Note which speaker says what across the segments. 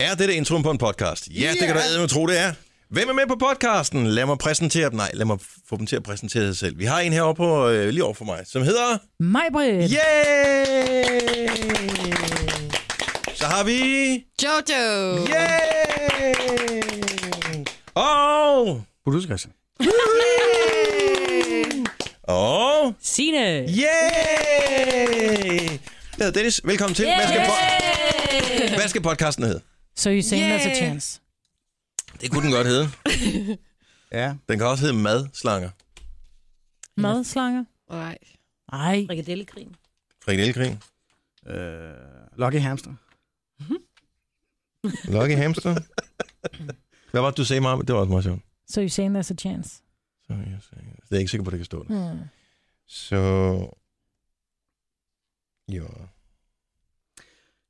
Speaker 1: Er det det introen på en podcast? Ja, yeah. det kan du
Speaker 2: Ja.
Speaker 1: eddermame tro, det er. Hvem er med på podcasten? Lad mig præsentere dem. Nej, lad mig få dem til at præsentere sig selv. Vi har en heroppe på, øh, lige over for mig, som hedder...
Speaker 3: Majbrit.
Speaker 1: Yay! Så har vi...
Speaker 2: Jojo!
Speaker 1: Yay! Og...
Speaker 4: Produskasse.
Speaker 1: Og...
Speaker 3: Signe.
Speaker 1: Yay! Jeg hedder Dennis. Velkommen til. Hvad skal, po- hvad skal podcasten hedde?
Speaker 3: So you saying there's a
Speaker 2: Yeah.
Speaker 3: chance.
Speaker 1: Det kunne den godt hedde.
Speaker 4: Ja.
Speaker 1: Den kan også hedde madslanger.
Speaker 3: Madslanger?
Speaker 2: Nej.
Speaker 3: Nej.
Speaker 5: Frikadellekrigen.
Speaker 1: Frikadellegrin.
Speaker 4: Øh, Lucky Hamster.
Speaker 1: Lucky hamster. Hvad var det, du sagde mig om? Det var også meget sjovt.
Speaker 3: So you saying there's a chance.
Speaker 1: Så jeg sagde- Det er jeg ikke sikker på, at det kan stå der.
Speaker 3: Hmm.
Speaker 1: Så... Jo.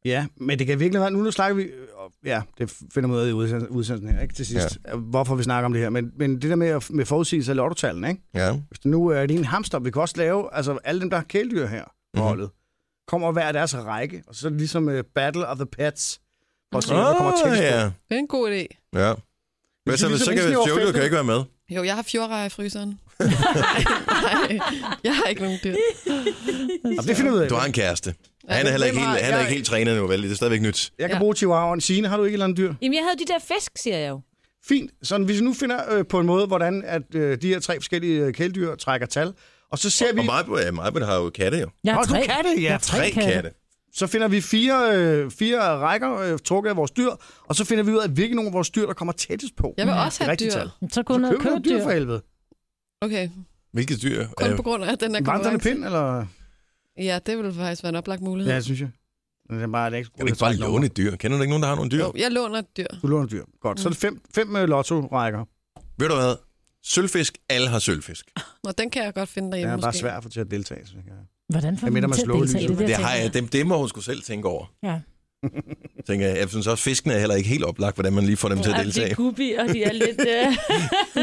Speaker 4: Ja, men det kan virkelig være... Nu, nu snakker vi... øh, Ja, det finder man ud af i udsendelsen- udsendelsen her, ikke? Til sidst. Ja. Hvorfor vi snakker om det her. Men, men det der med, med forudsigelse af lottotallen, ikke?
Speaker 1: Ja.
Speaker 4: Hvis det nu er din hamster, vi kan også lave... Altså, alle dem, der har kæledyr her på
Speaker 1: Mhm.
Speaker 4: holdet, kommer hver deres række. Og så er det ligesom uh, Battle of the Pets. Og se, oh, kommer til
Speaker 1: Ah, ja.
Speaker 2: Det er en god idé.
Speaker 1: ja. Hvad
Speaker 4: Hvis
Speaker 1: så,
Speaker 4: vi
Speaker 1: hvis så kan
Speaker 4: ligesom ikke sniger over
Speaker 1: Jojo kan
Speaker 4: feltet.
Speaker 1: ikke være med?
Speaker 2: Jo, jeg har fjordrejer i fryseren. nej, nej, jeg har ikke nogen dyr.
Speaker 4: Og det finder vi ud af.
Speaker 1: Du har en kæreste. Han er heller ikke helt, han er ikke helt trænet nu, vel? Det er stadigvæk nyt.
Speaker 4: Jeg kan
Speaker 2: Ja.
Speaker 4: bruge chihuahuaen. Signe, har du ikke et eller andet dyr?
Speaker 5: Jamen, jeg havde de der fisk, siger jeg jo.
Speaker 4: Fint. Så hvis vi nu finder øh, på en måde, hvordan at, øh, de her tre forskellige øh, kæledyr trækker tal, og så ser vi...
Speaker 1: Og Majbrit ja, Majbrit har jo katte, jo.
Speaker 3: Jeg har
Speaker 4: Nå, du
Speaker 3: tre.
Speaker 4: kan det, ja.
Speaker 3: Jeg har tre,
Speaker 1: Tre katte.
Speaker 4: Så finder vi fire, øh, fire rækker øh, trukket af vores dyr, og så finder vi ud af, hvilke nogle af vores dyr, der kommer tættest på.
Speaker 2: Jeg vil også have
Speaker 4: rigtige
Speaker 2: dyr.
Speaker 4: tal.
Speaker 3: Så gå ned
Speaker 4: Så
Speaker 3: og
Speaker 4: køb
Speaker 3: køb
Speaker 4: nogle dyr for
Speaker 3: dyr.
Speaker 4: helvede.
Speaker 2: Okay,
Speaker 1: Hvilket dyr?
Speaker 2: kun
Speaker 1: Øh,
Speaker 2: på grund af den der
Speaker 4: Vandrende
Speaker 2: konkurrence.
Speaker 4: pind, eller?
Speaker 2: Ja, det ville faktisk være en oplagt mulighed.
Speaker 4: Ja, synes jeg. Det er bare, det er ikke,
Speaker 1: Kan du ikke bare låne et dyr? Kender du ikke nogen, der har nogle dyr?
Speaker 2: Jo, jeg låner et dyr.
Speaker 4: Du låner dyr. Godt. Så er det fem, fem øh, lotto-rækker.
Speaker 1: Ved du hvad? Sølvfisk. Alle har sølvfisk.
Speaker 2: Og den kan jeg godt finde
Speaker 4: Det
Speaker 2: derhjemme,
Speaker 4: er bare
Speaker 2: måske.
Speaker 4: svært at få til at deltage. Synes jeg.
Speaker 3: Hvordan får
Speaker 4: Jeg mener,
Speaker 3: man
Speaker 4: man
Speaker 3: til at
Speaker 4: slukker
Speaker 3: deltage i
Speaker 4: lyset.
Speaker 3: det der?
Speaker 1: Det, har
Speaker 3: ting?
Speaker 1: jeg, det, det må hun skulle selv tænke over.
Speaker 3: Ja.
Speaker 1: Tænker jeg. jeg synes også, fiskene er heller ikke helt oplagt, hvordan man lige får dem til at
Speaker 5: Jamen, det
Speaker 1: deltage.
Speaker 5: er gubi, og de er lidt... Uh,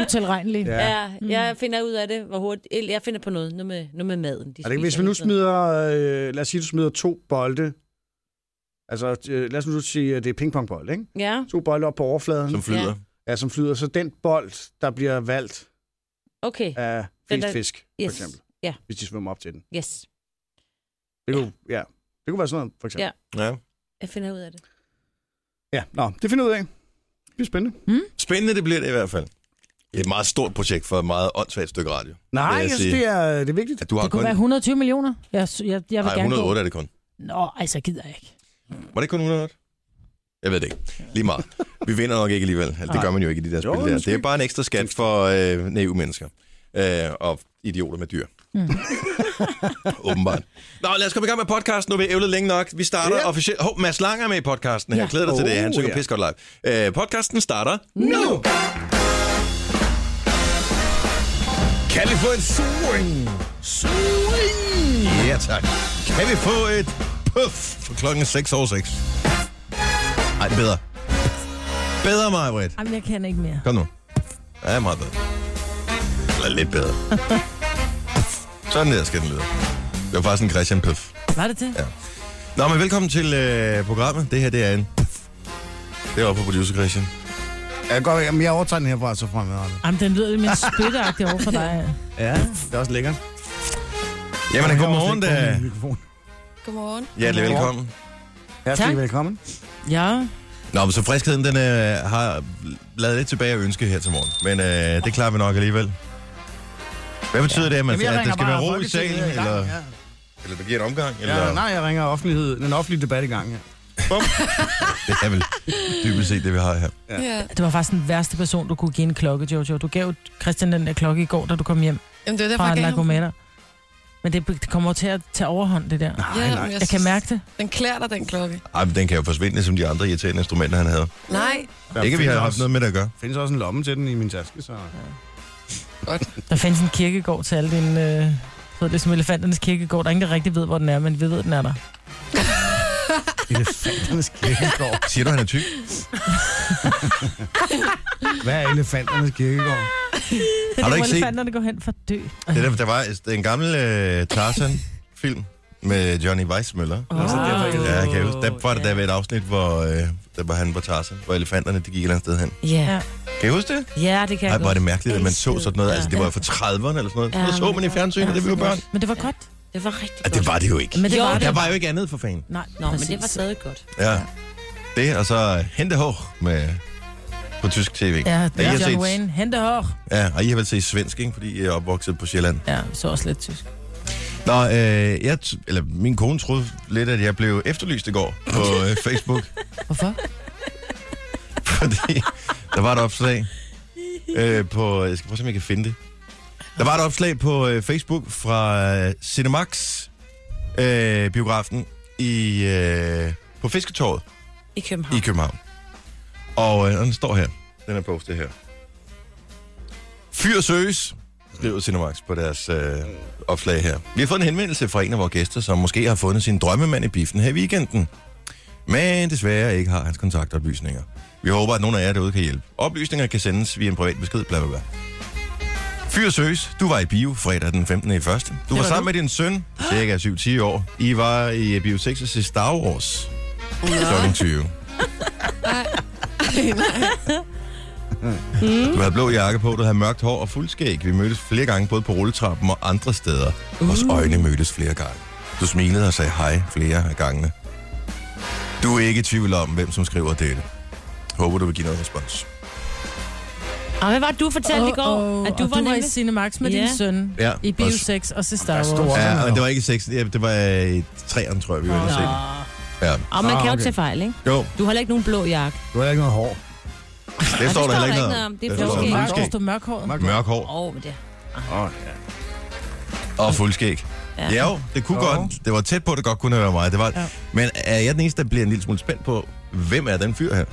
Speaker 3: Utilregnelig. Ja.
Speaker 5: ja. jeg finder ud af det, hvor hurtigt... eller Jeg finder på noget, noget med, noget med maden. De
Speaker 4: Er det ikke,
Speaker 5: spiser
Speaker 4: hvis vi nu
Speaker 5: hele tiden.
Speaker 4: smider, øh, lad os sige, du smider to bolde. Altså, øh, lad os nu sige, at det er pingpongbold, ikke?
Speaker 5: Ja.
Speaker 4: To bolde op på overfladen,
Speaker 1: Som
Speaker 4: som,
Speaker 1: flyder.
Speaker 4: ja, som flyder. Så den bold, der bliver valgt
Speaker 5: Okay,
Speaker 4: af
Speaker 5: Den
Speaker 4: flest
Speaker 5: der-
Speaker 4: fisk, for
Speaker 5: yes.
Speaker 4: eksempel.
Speaker 5: Ja.
Speaker 4: Hvis de svømmer op til den.
Speaker 5: yes.
Speaker 4: Det kunne, ja. det kunne være sådan noget, for eksempel.
Speaker 5: Ja.
Speaker 1: Ja.
Speaker 5: Jeg finder ud af det.
Speaker 4: ja. Nå, det finder vi ud af. Det bliver spændende.
Speaker 3: Hmm?
Speaker 1: Spændende det bliver det i hvert fald. Det er et meget stort projekt for et meget åndssvagt stykke radio.
Speaker 4: Nej,
Speaker 1: vil jeg
Speaker 4: jeg altså,
Speaker 1: sige.
Speaker 4: det, er, det er vigtigt.
Speaker 1: At du har
Speaker 3: Det kunne
Speaker 1: kun...
Speaker 3: være 120 millioner. Jeg, sy- jeg, jeg vil
Speaker 1: Nej,
Speaker 3: gerne
Speaker 1: 108
Speaker 3: gå.
Speaker 1: er det kun.
Speaker 3: Nå, altså gider jeg ikke.
Speaker 1: Var det kun 108? Jeg ved det ikke. Lige meget. Vi vinder nok ikke alligevel. Altså, det gør man jo ikke i de der
Speaker 4: Jo,
Speaker 1: spil der. Det er
Speaker 4: måske.
Speaker 1: bare en ekstra skat for øh, naive mennesker. Øh, og idioter med dyr. Åbenbart. Nå, lad os komme i gang med podcasten. Nu har vi ævlet længe nok. Vi starter
Speaker 4: Ja.
Speaker 1: officielt... Hov, Mads Lange er med i podcasten her. Ja. Glæder dig til det. Han
Speaker 4: Oh,
Speaker 1: synger
Speaker 4: ja.
Speaker 1: pis godt live. Øh, podcasten starter nu! Kan vi få en swing? Swing! Ja, tak. Kan vi få et puff for klokken 6 over 6? Ej, bedre. Bedre, Maja
Speaker 3: Jamen, jeg kan ikke mere.
Speaker 1: Kom nu. Ja, meget bedre. Eller lidt bedre. Sådan der skal den lyde. Det var faktisk en Christian Puff.
Speaker 3: Var det det?
Speaker 1: Ja. Nå, men velkommen til øh, programmet. Det her, det er en... Det var på producer Christian.
Speaker 4: Jeg, går, jamen, jeg overtager den herfra, så fremadrettet.
Speaker 3: Jamen, den lyder lidt mere spytteagtig over for dig.
Speaker 4: Ja, det er også lækkert.
Speaker 1: Jamen,
Speaker 4: Jeg har
Speaker 1: godmorgen
Speaker 4: også lidt på
Speaker 1: da.
Speaker 4: min mikrofon.
Speaker 2: Godmorgen.
Speaker 1: Hjertelig
Speaker 4: Godmorgen.
Speaker 1: velkommen.
Speaker 4: Herselig
Speaker 3: Tak.
Speaker 4: velkommen.
Speaker 3: Ja.
Speaker 1: Nå, men så friskheden, den øh, har lavet lidt tilbage at ønske her til morgen. Men øh, det klarer vi nok alligevel. Hvad betyder ja. det, at, man,
Speaker 4: jeg
Speaker 1: at der
Speaker 4: ringer
Speaker 1: skal være
Speaker 4: bare
Speaker 1: ro i
Speaker 4: Folketinget
Speaker 1: salen?
Speaker 4: i gang,
Speaker 1: Eller,
Speaker 4: Ja.
Speaker 1: eller der giver en omgang? Eller,
Speaker 4: Ja, nej, jeg ringer offentlighed, den offentlige debat i gang. Ja.
Speaker 1: Det er vel dybest set det, vi har her.
Speaker 4: Ja.
Speaker 2: Ja.
Speaker 3: Det var faktisk den værste person, du kunne give en klokke, Jojo. Du gav Christian den der klokke i går, da du kom hjem
Speaker 2: Jamen, det var
Speaker 3: fra
Speaker 2: derfor, jeg gav ham.
Speaker 3: Lagometer. Men det, det kommer jo til at tage overhånd, det der.
Speaker 2: Ja,
Speaker 4: Nej, nej.
Speaker 2: men
Speaker 3: Jeg kan
Speaker 2: synes,
Speaker 3: mærke det.
Speaker 2: Den klæder dig, den klokke.
Speaker 1: Ej, men den kan jo forsvinde, som de andre irriterende instrumenter, han havde.
Speaker 2: Nej,
Speaker 4: Der
Speaker 1: Ikke, at vi har
Speaker 4: findes
Speaker 1: haft
Speaker 4: også-
Speaker 1: noget med det at gøre.
Speaker 4: findes også en lomme til den i min taske, så...
Speaker 3: Der findes en kirkegård til alle dine... Øh, ved det som elefanternes kirkegård. Der er ingen, der rigtig ved, hvor den er, men vi ved, den er der.
Speaker 4: Elefanternes kirkegård.
Speaker 1: Siger du, han er tyk?
Speaker 4: Hvad er elefanternes kirkegård?
Speaker 3: Det
Speaker 1: Har du
Speaker 3: er der,
Speaker 1: ikke
Speaker 3: hvor
Speaker 1: set-
Speaker 3: elefanterne går hen for at dø.
Speaker 1: Det der, der var det er en gammel øh, Tarzan-film med Johnny Weissmøller.
Speaker 3: Åh.
Speaker 4: så derfor ikke-
Speaker 1: Ja, jeg kan huske. Der var det der ved et afsnit, hvor øh, der var han på Tarzan, hvor elefanterne de gik et eller andet sted hen.
Speaker 5: Ja.
Speaker 1: Kan I huske det?
Speaker 5: Ja, det kan
Speaker 1: Ej, hvor er
Speaker 5: jeg godt.
Speaker 1: det mærkeligt, at man så
Speaker 5: Elskede.
Speaker 1: sådan noget.
Speaker 5: Ja.
Speaker 1: Altså, det var jo fra 30'erne eller sådan noget. Ja,
Speaker 5: Ja,
Speaker 1: det så
Speaker 5: men
Speaker 1: man i fjernsynet, da vi var børn.
Speaker 3: Men det var godt.
Speaker 5: Det var rigtig
Speaker 1: Ja,
Speaker 5: godt.
Speaker 1: det var det jo ikke.
Speaker 3: Men det
Speaker 5: Jo,
Speaker 3: var det.
Speaker 1: Der var jo ikke andet for fanden.
Speaker 3: Nej,
Speaker 5: Nå, men det
Speaker 3: præcis.
Speaker 5: var stadig godt.
Speaker 1: Ja. Det, og så øh, Hente Hår med på tysk tv.
Speaker 3: Ja,
Speaker 1: Og I har
Speaker 3: det var John
Speaker 1: set-
Speaker 3: Wayne. Hente hår.
Speaker 1: Ja, og I har vel set svensk, ikke? Fordi I er opvokset på Sjælland.
Speaker 3: Ja, vi så også lidt tysk.
Speaker 1: Nå, øh, jeg t- eller min kone troede lidt, at jeg blev efterlyst i går på øh, Facebook,
Speaker 3: Hvorfor?
Speaker 1: fordi der var et opslag øh, på... Jeg skal prøve at se, om jeg kan finde det. Der var et opslag på øh, Facebook fra øh, Cinemax øh, biografen i, øh, på Fisketorvet
Speaker 5: I
Speaker 1: i
Speaker 5: København.
Speaker 1: København. Og øh, den står her. Den er postet her. Fyr søges, skriver Cinemax på deres øh, opslag her. Vi har fået en henvendelse fra en af vores gæster, som måske har fundet sin drømmemand i biffen her i weekenden. Men desværre ikke har hans kontaktoplysninger. Vi håber, at nogen af jer derude kan hjælpe. Oplysninger kan sendes via en privat besked, bla bla bla. Fyr søs, du var i bio fredag den 15. i første. Du var,
Speaker 3: var
Speaker 1: var sammen
Speaker 3: du.
Speaker 1: med din søn, cirka 7-10 år. I var i Biotexas sidste Star Wars kl. 20.
Speaker 2: Ej, nej.
Speaker 1: Du havde blå jakke på, du havde mørkt hår og fuld skæg. Vi mødtes flere gange, både på rulletrappen og andre steder. Vores øjne mødtes flere gange. Du smilede og sagde hej flere af gangene. Du er ikke i tvivl om, hvem som skriver dette. Håber, du vil give noget respons.
Speaker 5: Og hvad var det, du fortalte oh, i går?
Speaker 3: Åh,
Speaker 5: at du
Speaker 3: og du
Speaker 5: var
Speaker 3: var i
Speaker 5: nemlig...
Speaker 3: Cinemax med
Speaker 5: Ja.
Speaker 3: din søn.
Speaker 1: Ja,
Speaker 3: I
Speaker 1: og
Speaker 3: Bio
Speaker 1: s-
Speaker 3: 6 og så Star
Speaker 4: Der er stor-
Speaker 3: Wars.
Speaker 1: Ja, og det var ikke i seksen, ja, det var i træerne, tror jeg, vi var inde at se.
Speaker 3: Nå.
Speaker 1: Ja.
Speaker 5: Og man
Speaker 4: Ah,
Speaker 5: kan jo
Speaker 4: okay.
Speaker 5: tage fejl, ikke?
Speaker 1: Jo,
Speaker 5: Du har heller ikke nogen blå jakke.
Speaker 4: Du har ikke noget hår.
Speaker 1: det står der heller ikke noget
Speaker 5: noget
Speaker 1: om.
Speaker 5: om. Det er
Speaker 1: Der står
Speaker 5: blå
Speaker 1: om
Speaker 5: skæg.
Speaker 1: fuld
Speaker 3: Mørk, du mørkhåret.
Speaker 4: Mørk-
Speaker 1: Mørk hår
Speaker 5: Åh, oh, men det...
Speaker 4: Åh, ja.
Speaker 1: og fuld skæg.
Speaker 5: Ja.
Speaker 1: Ja, jo, det kunne
Speaker 4: Jo.
Speaker 1: godt. Det var tæt på, at det godt kunne have været mig. Det var...
Speaker 3: Ja.
Speaker 1: Men er jeg den eneste, der bliver en lille smule spændt på, hvem er den fyr her?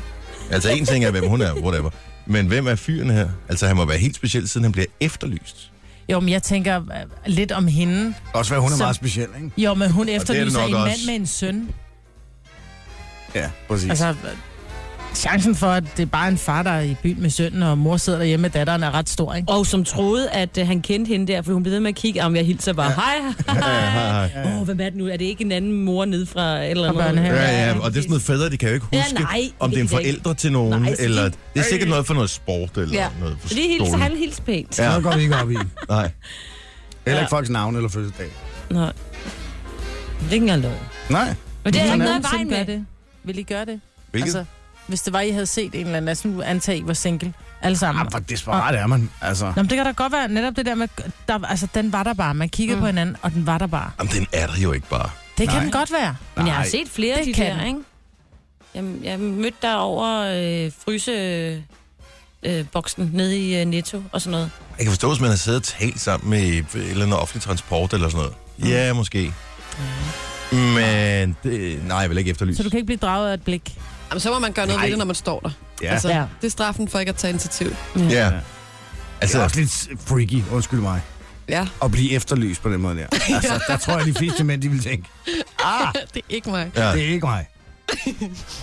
Speaker 1: Altså, en ting er, hvem hun er, whatever. Men hvem er fyren her? Altså, han må være helt speciel, siden han bliver efterlyst.
Speaker 3: Jo, men jeg tænker øh, lidt om hende.
Speaker 4: Også være, hun er
Speaker 3: Så-
Speaker 4: meget speciel, ikke?
Speaker 3: Jo, men hun
Speaker 1: det
Speaker 3: efterlyser
Speaker 1: nok
Speaker 3: en mand
Speaker 1: også.
Speaker 3: med en søn.
Speaker 4: Ja, præcis.
Speaker 3: Altså, øh, chancen for, at det er bare en far, der er i byen med sønnen, og mor sidder derhjemme med datteren, er ret stor, ikke?
Speaker 5: Og som troede, at øh, han kendte hende der, for hun blev ved med at kigge, om jeg hilser bare, hej, hej. Åh, oh, hvem er det nu? Er det ikke en anden mor nede fra et eller
Speaker 3: Fra
Speaker 5: andet?
Speaker 3: børnehaven.
Speaker 1: Ja, ja, og det er sådan noget fædre, de kan jo ikke
Speaker 5: Ja,
Speaker 1: huske,
Speaker 5: nej,
Speaker 1: om det
Speaker 5: det
Speaker 1: er en
Speaker 5: kan de ikke.
Speaker 1: forældre til nogen,
Speaker 5: Nej, så de-
Speaker 1: eller det er sikkert noget for noget sport, eller
Speaker 5: Ja.
Speaker 1: noget for
Speaker 5: Så det er helt, så
Speaker 1: skolen.
Speaker 5: han hils pænt.
Speaker 1: Ja.
Speaker 4: Ja. Noget går vi ikke op i.
Speaker 1: Nej.
Speaker 4: Heller ikke folks navn eller fødselsdag.
Speaker 5: Nå. Det er ikke engang løgn.
Speaker 4: Nej.
Speaker 5: Men det er
Speaker 4: Sådan
Speaker 5: der ikke
Speaker 4: er
Speaker 5: noget i vejen
Speaker 3: Nogensinde gør
Speaker 5: med.
Speaker 3: det. Vil I gøre det?
Speaker 1: Hvilket? Altså,
Speaker 3: hvis det var, I havde set en eller anden, lad os nu antage, I var single, alle sammen.
Speaker 4: Ah, hvor desperat er man. Altså,
Speaker 3: Nå, men det kan da godt være netop det der med, der, altså den var der bare. Man kiggede mm. på hinanden, og den var der bare.
Speaker 1: Jamen, den er der jo ikke bare.
Speaker 3: Det kan
Speaker 4: Nej.
Speaker 3: den godt være.
Speaker 5: Men jeg har
Speaker 4: Nej.
Speaker 5: set flere af
Speaker 3: Det
Speaker 5: de
Speaker 3: kan
Speaker 5: der, ikke? Jeg, jeg mødte dig over øh, fryseboksen øh, boksen nede i øh, Netto og sådan noget.
Speaker 1: Jeg kan forstå, hvis man har siddet og talt sammen med et eller andet offentlig transport eller sådan
Speaker 4: Mm.
Speaker 1: noget. Ja, måske. Men det, nej, jeg vil ikke efterlyse.
Speaker 3: Så du kan ikke blive draget af et blik.
Speaker 2: Jamen, så må man gøre noget ved det, når man står der.
Speaker 4: ja.
Speaker 2: Altså,
Speaker 4: Altså,
Speaker 3: Ja.
Speaker 2: det er straffen for ikke at tage initiativ.
Speaker 1: Ja.
Speaker 4: Ja. det
Speaker 1: Altså,
Speaker 4: er også lidt freaky, undskyld mig,
Speaker 2: Ja,
Speaker 4: at blive efterlyst på den måde der. Altså, der tror jeg, de fleste mænd, de vil tænke, ah,
Speaker 2: det er ikke mig.
Speaker 1: ja.
Speaker 4: det er ikke mig.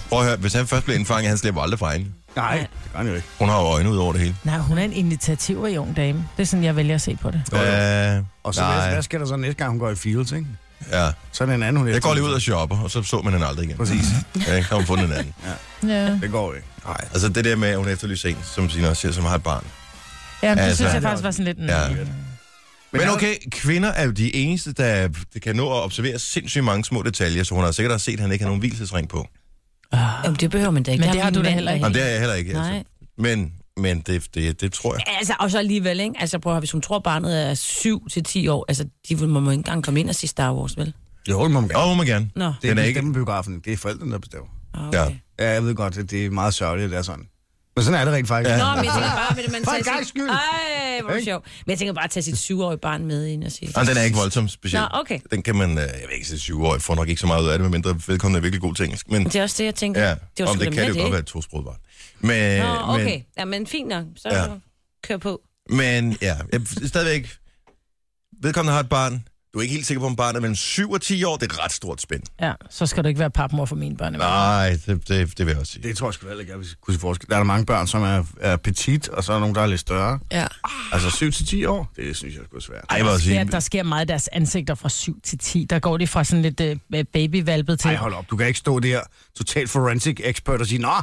Speaker 1: prøv at høre, hvis han først bliver indfanget, han slipper aldrig fra hende.
Speaker 4: Nej, det gør han jo ikke.
Speaker 1: Hun har jo øjne ud over det hele.
Speaker 3: Nej, hun er en initiativrig ung dame. Det er sådan, jeg vælger at se på det.
Speaker 4: Jo, jo.
Speaker 1: Ja,
Speaker 4: Og så
Speaker 1: Nej.
Speaker 4: hvad, hvad sker der så næste gang, hun går i Fields, ikke?
Speaker 1: ja.
Speaker 4: Så er det en anden, hun
Speaker 1: Jeg går lige ud
Speaker 4: efterlyser.
Speaker 1: og shopper, og så så man hende aldrig igen.
Speaker 4: Præcis.
Speaker 1: Ja, ikke? så har hun fundet en anden.
Speaker 3: Ja,
Speaker 4: Det går jo ikke.
Speaker 1: Nej, altså det der med, at hun efterlyser en, som Signe også siger, som har et barn.
Speaker 3: ja det
Speaker 1: Altså-
Speaker 3: altså, synes jeg faktisk var sådan lidt... Mm,
Speaker 1: Ja.
Speaker 3: ja.
Speaker 1: Men okay, kvinder er jo de eneste, der det kan nå at observere sindssygt mange små detaljer, så hun har sikkert også set, at han ikke har nogen hvilesesring på. Ah.
Speaker 5: Jamen, det behøver man da ikke.
Speaker 3: Men
Speaker 5: Der
Speaker 3: det
Speaker 5: er
Speaker 3: har
Speaker 5: min
Speaker 3: du da
Speaker 5: mand,
Speaker 3: heller
Speaker 5: der
Speaker 3: ikke.
Speaker 1: Jamen, det er jeg heller ikke.
Speaker 5: Nej.
Speaker 1: Altså. Men, men det, det, det tror jeg.
Speaker 5: Altså, og så alligevel, ikke? Altså, prøv at høre, hvis hun tror, barnet er 7 til 10 år, altså, de vil- må man ikke engang komme ind og sige Star Wars, vel?
Speaker 4: Jo, det må man
Speaker 1: Åh,
Speaker 4: gerne.
Speaker 1: oh, må gerne.
Speaker 5: Nå,
Speaker 4: Det er,
Speaker 1: Den er
Speaker 4: er
Speaker 1: ikke-
Speaker 4: ikke biografen. Det er forældrene, der bestemmer.
Speaker 5: ah,
Speaker 1: Ja.
Speaker 5: okay.
Speaker 4: Ja, jeg ved godt, at det er meget sørgeligt, at det er sådan. Men sådan er det rent faktisk. Altså,
Speaker 1: Ja.
Speaker 5: Nå, men jeg tænker bare, at man
Speaker 4: For en
Speaker 5: tager
Speaker 4: gangs skyld.
Speaker 5: Ej, hvor er det sjovt. Men jeg tænker bare at tage sit syvårige barn med ind og sige...
Speaker 1: Og den er ikke voldsomt speciel.
Speaker 5: Nå, okay.
Speaker 1: Den kan man, øh, jeg ved ikke, sige syv år, får nok ikke så meget ud af det, medmindre vedkommende er virkelig god til engelsk. Men
Speaker 5: Det er også det, jeg tænker.
Speaker 1: ja,
Speaker 5: det var
Speaker 1: om
Speaker 5: sgu
Speaker 1: det kan
Speaker 5: da med
Speaker 1: det jo
Speaker 5: det,
Speaker 1: godt
Speaker 5: ikke?
Speaker 1: være et tosproget barn. Men,
Speaker 5: Nå, okay. Ja, men fint nok. Så
Speaker 1: Ja.
Speaker 5: kør på.
Speaker 1: men, men ja, jeg, stadigvæk, vedkommende har et barn, Du er ikke helt sikker på, om barnet er mellem 7 og 10 år. Det er et ret stort spænd.
Speaker 3: Ja, så skal du ikke være papmor for mine børn. i hvert
Speaker 1: Nej,
Speaker 3: fald.
Speaker 1: det, det, det vil jeg også sige.
Speaker 4: Det tror jeg sgu heller ikke, jeg vil kunne se forskel. Der er der mange børn, som er, er petit, og så er der nogen, der er lidt større.
Speaker 2: Ja.
Speaker 4: Altså 7-10 år, det synes jeg sgu er svært.
Speaker 1: Ej, jeg vil også
Speaker 3: Ja,
Speaker 1: sige,
Speaker 3: der sker meget af deres ansigter fra 7 til 10. Der går de fra sådan lidt øh, babyvalpet til...
Speaker 4: Nej, hold op. Du kan ikke stå der total forensic expert og sige, Nå,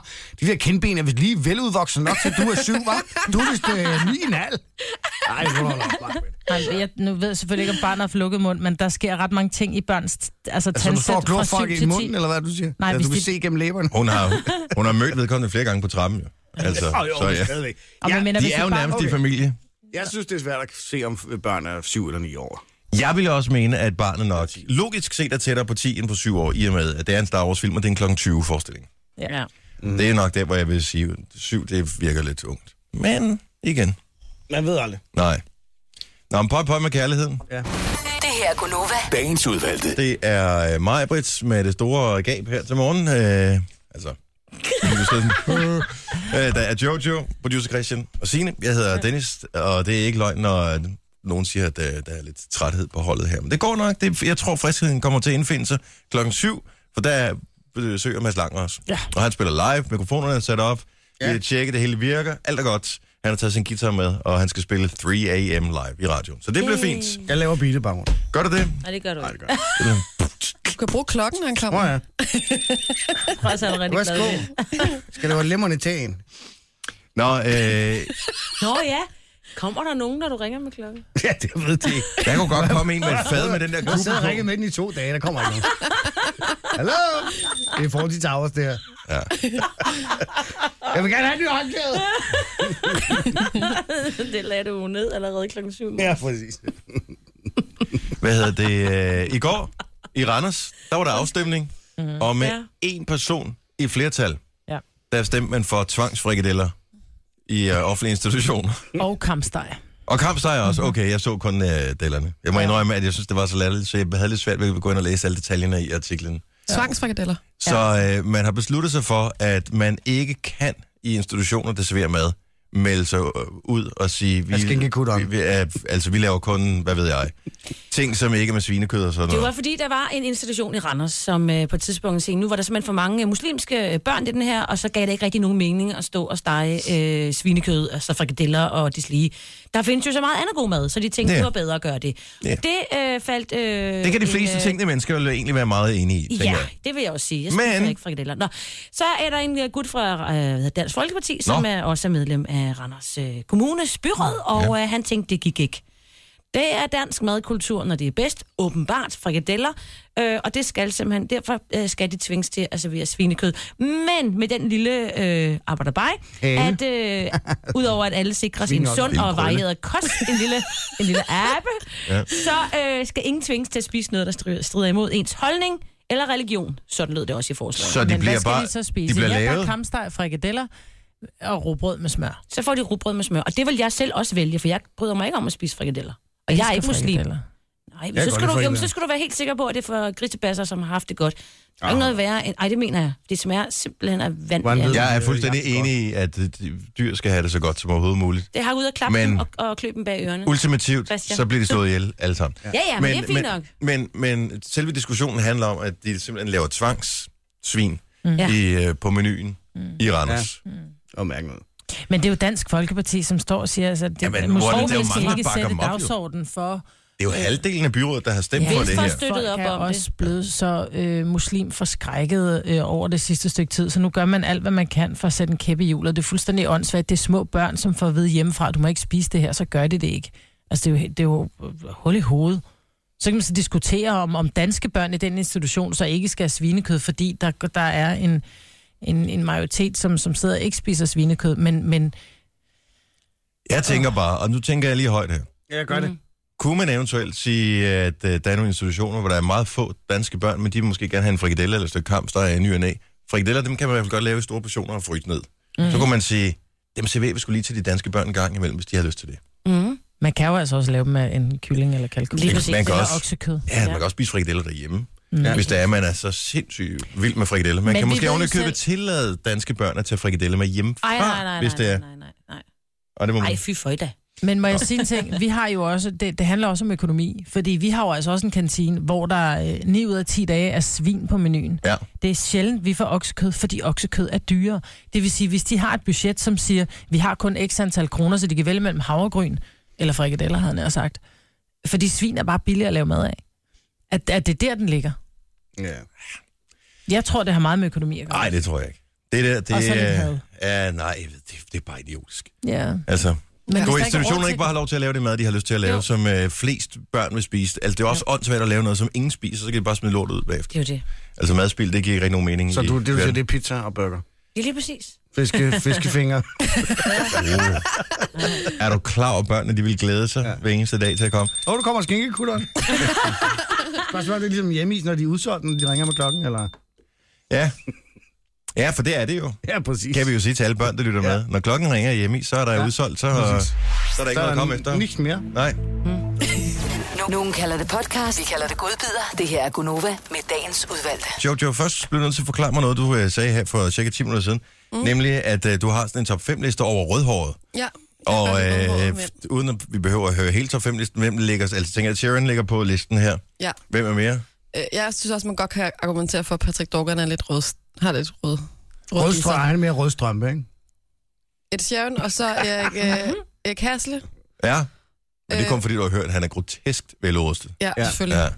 Speaker 4: de der kindben er vist lige veludvokset nok til, du er syv, hva'? Du er vist øh, ni en halv. Ej, hold op. slap af.
Speaker 3: Nej, jeg, nu ved jeg selvfølgelig ikke, om barnet har fået lukket mund, men der sker ret mange ting i børns altså,
Speaker 4: Altså, du
Speaker 3: tandsæt
Speaker 4: står og glor
Speaker 3: fra 7
Speaker 4: folk i
Speaker 3: til 10.
Speaker 4: munden, eller hvad du siger?
Speaker 3: Nej,
Speaker 4: ja,
Speaker 3: hvis
Speaker 4: du kan
Speaker 3: de-
Speaker 4: se gennem læberne.
Speaker 1: hun har, hun har mødt vedkommende flere gange på trappen, jo. Altså,
Speaker 4: Åh, jo,
Speaker 1: så
Speaker 4: men
Speaker 1: ja.
Speaker 4: stadigvæk.
Speaker 3: Og man
Speaker 4: Ja,
Speaker 3: mener,
Speaker 1: De
Speaker 3: hvis
Speaker 1: er jo
Speaker 3: et barn-
Speaker 1: nærmest i
Speaker 4: okay.
Speaker 1: familie.
Speaker 4: jeg synes, det er svært at se, om børn er syv eller ni år.
Speaker 1: Jeg ville også mene, at barnet nok logisk set er tættere på 10 end på 7 år, i og med, at det er en Star Wars-film, og det er en kl. 20 forestilling.
Speaker 3: Ja.
Speaker 1: Mm. Det er nok der, hvor jeg vil sige, at 7 det virker lidt ungt. Men igen,
Speaker 4: Man ved aldrig.
Speaker 1: nej. Nå, men pøj, pøj med kærligheden.
Speaker 6: Det her er Gunova.
Speaker 7: Dagens udvalgte.
Speaker 1: Det er øh, mig, Brits, med det store gab her til morgen. Øh, altså, nu kan du sidde sådan, øh, der er Jojo, producer Christian og Signe. Jeg hedder Dennis, og det er ikke løgn, når øh, nogen siger, at øh, der er lidt træthed på holdet her. Men det går nok. Det, jeg tror, friskheden kommer til at indfinde sig klokken syv, for der besøger Mads Langer os. Ja. Og han spiller live, mikrofonerne er sat op, ja. vi har tjekket, det hele virker, alt er godt. Han har taget sin guitar med, og han skal spille 3 a.m. live i radioen. Så det bliver fint.
Speaker 4: Jeg laver beatet bare rundt.
Speaker 1: Gør du det?
Speaker 5: Nej, det gør du ikke.
Speaker 2: Du kan bruge klokken, han klammer.
Speaker 4: Tror jeg.
Speaker 5: Jeg tror også, han er rigtig glad
Speaker 4: Værsgo.
Speaker 5: ved det.
Speaker 4: Skal der være lemmerne i tagen?
Speaker 1: Nå, øh,
Speaker 5: Nå ja, kommer der nogen, når du ringer med klokken?
Speaker 4: Ja, det ved de ikke.
Speaker 1: Der kunne godt komme en med et fad med den der
Speaker 4: Jeg sidder og
Speaker 1: kugle
Speaker 4: ringer
Speaker 1: på.
Speaker 4: med den i to dage, der kommer ikke noget. Hallo? Det er for de towers, det her.
Speaker 1: Ja.
Speaker 4: Jeg vil gerne have en ny håndklæde.
Speaker 5: det lagde du jo ned allerede klokken syv.
Speaker 4: Ja, præcis.
Speaker 1: Hvad hedder det? øh, I går i Randers, der var der afstemning, og med én person i flertal,
Speaker 3: Ja.
Speaker 1: der stemte man for tvangsfrikadeller i øh, offentlige institutioner.
Speaker 3: Og kampsteg.
Speaker 1: Og kampsteg også. Okay, jeg så kun øh, dellerne. Jeg må indrømme, at jeg synes, det var så latterligt, så jeg havde lidt svært ved at gå ind og læse alle detaljerne i artiklen.
Speaker 2: Tvangsfrikadeller.
Speaker 1: Så øh, man har besluttet sig for, at man ikke kan i institutioner, der serverer mad, melde sig øh, ud og sige, vi,
Speaker 4: Jeg skal ikke kutte om.
Speaker 1: vi, vi, er, altså, vi laver kun, hvad ved jeg, ting, som ikke er med svinekød og sådan
Speaker 5: Det var
Speaker 1: noget.
Speaker 5: fordi, der var en institution i Randers, som øh, på et tidspunkt sagde, nu var der simpelthen for mange øh, muslimske øh, børn i den her, og så gav det ikke rigtig nogen mening at stå og stege øh, svinekød, altså frikadeller og deslige. Der findes jo så meget andet god mad, så de tænkte,
Speaker 1: Ja.
Speaker 5: det var bedre at gøre det.
Speaker 1: Ja.
Speaker 5: Det øh, faldt... Øh,
Speaker 1: Det kan de fleste tænkende mennesker jo egentlig være meget enige i, tænker
Speaker 5: Ja,
Speaker 1: jeg.
Speaker 5: det vil jeg også sige. Jeg spiser
Speaker 1: Men-
Speaker 5: Men... ikke frikadeller. Nå, så er der en øh, gut fra øh, hvad hedder Dansk Folkeparti, som
Speaker 1: Nå.
Speaker 5: er også er medlem af Randers øh, Kommunes byråd, og øh, han tænkte, det gik ikke. Det er dansk madkultur, når det er bedst. Åbenbart frikadeller. Øh, og det skal simpelthen, derfor øh, skal de tvinges til at servere svinekød. Men med den lille øh, arbejderbej, at øh, udover at alle sikres en
Speaker 4: Svinehånd.
Speaker 5: sund
Speaker 1: En
Speaker 5: og
Speaker 1: krølle.
Speaker 5: varieret kost, en lille, en lille abe, ja. så øh, skal ingen tvinges til at spise noget, der stri- strider imod ens holdning eller religion. Sådan lød det også i forslaget. Så,
Speaker 1: Så de
Speaker 3: Men
Speaker 1: bliver
Speaker 3: hvad skal
Speaker 1: bare,
Speaker 3: de så spise?
Speaker 1: de bliver
Speaker 3: ja, der er
Speaker 1: lavet.
Speaker 3: kampsteg, frikadeller og råbrød med smør.
Speaker 5: så får de rugbrød med smør. Og det vil jeg selv også vælge, for jeg bryder mig ikke om at spise frikadeller. Og jeg er ikke muslim.
Speaker 3: Frikadeller.
Speaker 5: Nej, men
Speaker 4: Jeg
Speaker 5: så
Speaker 4: kan
Speaker 5: skal,
Speaker 4: godt
Speaker 5: du,
Speaker 4: lide
Speaker 5: jamen,
Speaker 4: frikadeller.
Speaker 5: så skal du være helt sikker på, at det er for grisebasser, som har haft det godt. Der er ikke noget værre end... Ej, det mener jeg. Det smager simpelthen af vand. altså.
Speaker 4: Hvordan ved
Speaker 5: Ja.
Speaker 1: Jeg er fuldstændig enig i, at øh, dyr skal have det så godt som overhovedet muligt.
Speaker 5: Det har ud at klappe
Speaker 1: Men-
Speaker 5: dem og, og klø dem bag ørerne.
Speaker 3: Mm.
Speaker 1: Ultimativt,
Speaker 5: Christian.
Speaker 1: så bliver de slået ihjel alle sammen.
Speaker 5: Ja, ja, men, men det er fint nok.
Speaker 1: men, men, men selve diskussionen handler om, at de simpelthen laver tvangssvin mm.
Speaker 5: Ja.
Speaker 1: i, øh, på menuen mm. i Randers. Ja.
Speaker 4: Og mærke noget.
Speaker 3: Men det er jo Dansk Folkeparti, som står og siger, altså, at det,
Speaker 1: Jamen,
Speaker 3: Jamen,
Speaker 1: hvor er det- der er jo
Speaker 3: muslimer
Speaker 1: mange,
Speaker 3: skal
Speaker 1: der
Speaker 3: ikke
Speaker 1: bakker
Speaker 3: sætte
Speaker 1: dem op, jo.
Speaker 3: dagsordenen for...
Speaker 1: Det er jo halvdelen af byrådet, der har stemt
Speaker 5: Ja.
Speaker 1: ja. for det
Speaker 5: Venstre
Speaker 1: her.
Speaker 5: har støttet
Speaker 3: Folk
Speaker 5: op
Speaker 3: er
Speaker 5: om det.
Speaker 3: også blevet så øh, muslim forskrækket øh, over det sidste stykke tid, så nu gør man alt, hvad man kan for at sætte en kæppe i hjulet. Det er fuldstændig åndssvagt. Det er små børn, som får at vide hjemmefra, du må ikke spise det her, så gør de det ikke. Altså, det er jo, det er jo øh, hul i hovedet. Så kan man så diskutere, om, om danske børn i den institution så ikke skal have svinekød, fordi der, der er en, en, en majoritet, som, som sidder og ikke spiser svinekød, men, men
Speaker 1: Jeg tænker bare, og nu tænker jeg lige højt her.
Speaker 4: Ja, jeg gør det.
Speaker 1: Kunne man eventuelt sige, at øh, der er nogle institutioner, hvor der er meget få danske børn, men de vil måske gerne have en frikadelle eller et stykke kamp, der er en ny og næ. Frikadeller, dem kan man i hvert fald godt lave i store portioner og fryse ned. Mm. Så kunne man sige, dem serverer vi skulle lige til de danske børn en gang imellem, hvis de har lyst til det.
Speaker 5: Mm.
Speaker 3: man kan jo altså også lave dem af en kylling eller kalkun.
Speaker 5: Lige
Speaker 1: Man
Speaker 5: præcis.
Speaker 1: kan
Speaker 5: Det er
Speaker 1: også-
Speaker 3: Eller oksekød.
Speaker 1: Ja, man kan også spise frikadeller derhjemme,
Speaker 3: Mm.
Speaker 1: ja. hvis der er, man er så sindssygt vild med frikadeller. Man
Speaker 3: Men
Speaker 1: kan
Speaker 3: vi ved
Speaker 1: måske
Speaker 3: jo
Speaker 1: ovenikøbet
Speaker 3: selv-
Speaker 1: tillade danske børn at tage frikadeller med hjemme,
Speaker 5: Ej, nej, nej, nej,
Speaker 1: Ah, hvis det er.
Speaker 5: nej, nej, nej.
Speaker 1: Og det må man.
Speaker 5: Ej, fy for da.
Speaker 3: Men må jeg sige en ting? Vi har jo også, det, det handler også om økonomi, fordi vi har jo altså også en kantine, hvor der øh, 9 ud af 10 dage er svin på menuen.
Speaker 1: Ja.
Speaker 3: Det er sjældent, vi får oksekød, fordi oksekød er dyrere. Det vil sige, hvis de har et budget, som siger, vi har kun x antal kroner, så de kan vælge mellem havregryn, eller frikadeller, havde han nær sagt. Fordi svin er bare billigere at lave mad af. At, at det er der, den ligger.
Speaker 4: Ja.
Speaker 3: Jeg tror, det har meget med økonomi at gøre.
Speaker 1: Nej, det tror jeg ikke. Det der, det
Speaker 3: Og så lidt
Speaker 1: er...
Speaker 3: had.
Speaker 1: Ja, nej, det, det er bare idiotisk.
Speaker 3: Ja.
Speaker 1: Altså, Hvor
Speaker 3: Men hvis der er råd
Speaker 1: institutioner
Speaker 3: til
Speaker 1: ikke bare har lov til at lave det mad, de har lyst til at lave, jo.
Speaker 2: Jo.
Speaker 1: som øh, flest børn vil spise. Altså, det er også åndssvagt at lave noget, som ingen spiser, så kan de bare smide lortet ud
Speaker 5: Det
Speaker 1: bagefter.
Speaker 5: er jo det.
Speaker 1: Altså, madspil, det giver ikke rigtig nogen mening.
Speaker 4: Så
Speaker 1: i
Speaker 4: du, det, du siger,
Speaker 1: verden.
Speaker 4: det er pizza og burger.
Speaker 5: Ja, lige præcis.
Speaker 4: Fiske, fiskefingre.
Speaker 1: Er du klar over, at børnene de vil glæde sig ja. hver eneste dag til at komme?
Speaker 4: Åh, oh, du kommer skinkekutteren. Spørgsmålet er, det er ligesom hjemmeis, når de er udsolgt, når de ringer med klokken, eller?
Speaker 1: Ja. Ja, for det er det jo.
Speaker 4: Ja, præcis.
Speaker 1: Kan vi jo sige til alle børn, der lytter ja.
Speaker 4: Ja.
Speaker 1: med. Når klokken ringer hjemme i, så er der ja. udsolgt, så,
Speaker 4: Præcis.
Speaker 1: så er der ikke
Speaker 4: Så
Speaker 1: noget at
Speaker 4: er
Speaker 1: komme
Speaker 4: der
Speaker 1: efter.
Speaker 4: niks mere.
Speaker 1: Nej.
Speaker 6: Nu- Nogen kalder det podcast, vi kalder det godbider. Det her er Gunova med dagens udvalgte.
Speaker 1: Jojo, først blev du nødt til at forklare mig noget, du øh, sagde her for cirka 10 minutter siden. Mm. Nemlig, at øh, du har sådan en top 5-liste over rødhåret.
Speaker 2: Ja.
Speaker 1: Og
Speaker 2: Jeg er
Speaker 1: øh, f-
Speaker 2: faktisk rødhåret,
Speaker 1: uden at vi behøver at høre hele top 5-listen, hvem ligger... Altså, tænker jeg, at Sharon ligger på listen her.
Speaker 2: men- Ja.
Speaker 1: Hvem er mere?
Speaker 2: Øh, Jeg synes også, man godt kan argumentere for, at Patrick Dorgan er lidt rød, har lidt rød.
Speaker 4: Rødstrøm,
Speaker 2: rødgisser.
Speaker 4: han er mere rødstrømpe, ikke?
Speaker 2: Ed Sheeran, og så Erik, øh, Erik Hasle.
Speaker 1: Ja. Men det er
Speaker 2: Øh.
Speaker 1: kun fordi, du har hørt, at han er grotesk velrustet.
Speaker 2: Ja,
Speaker 4: Ja.
Speaker 2: ja, selvfølgelig.
Speaker 1: Ja.
Speaker 2: Ja.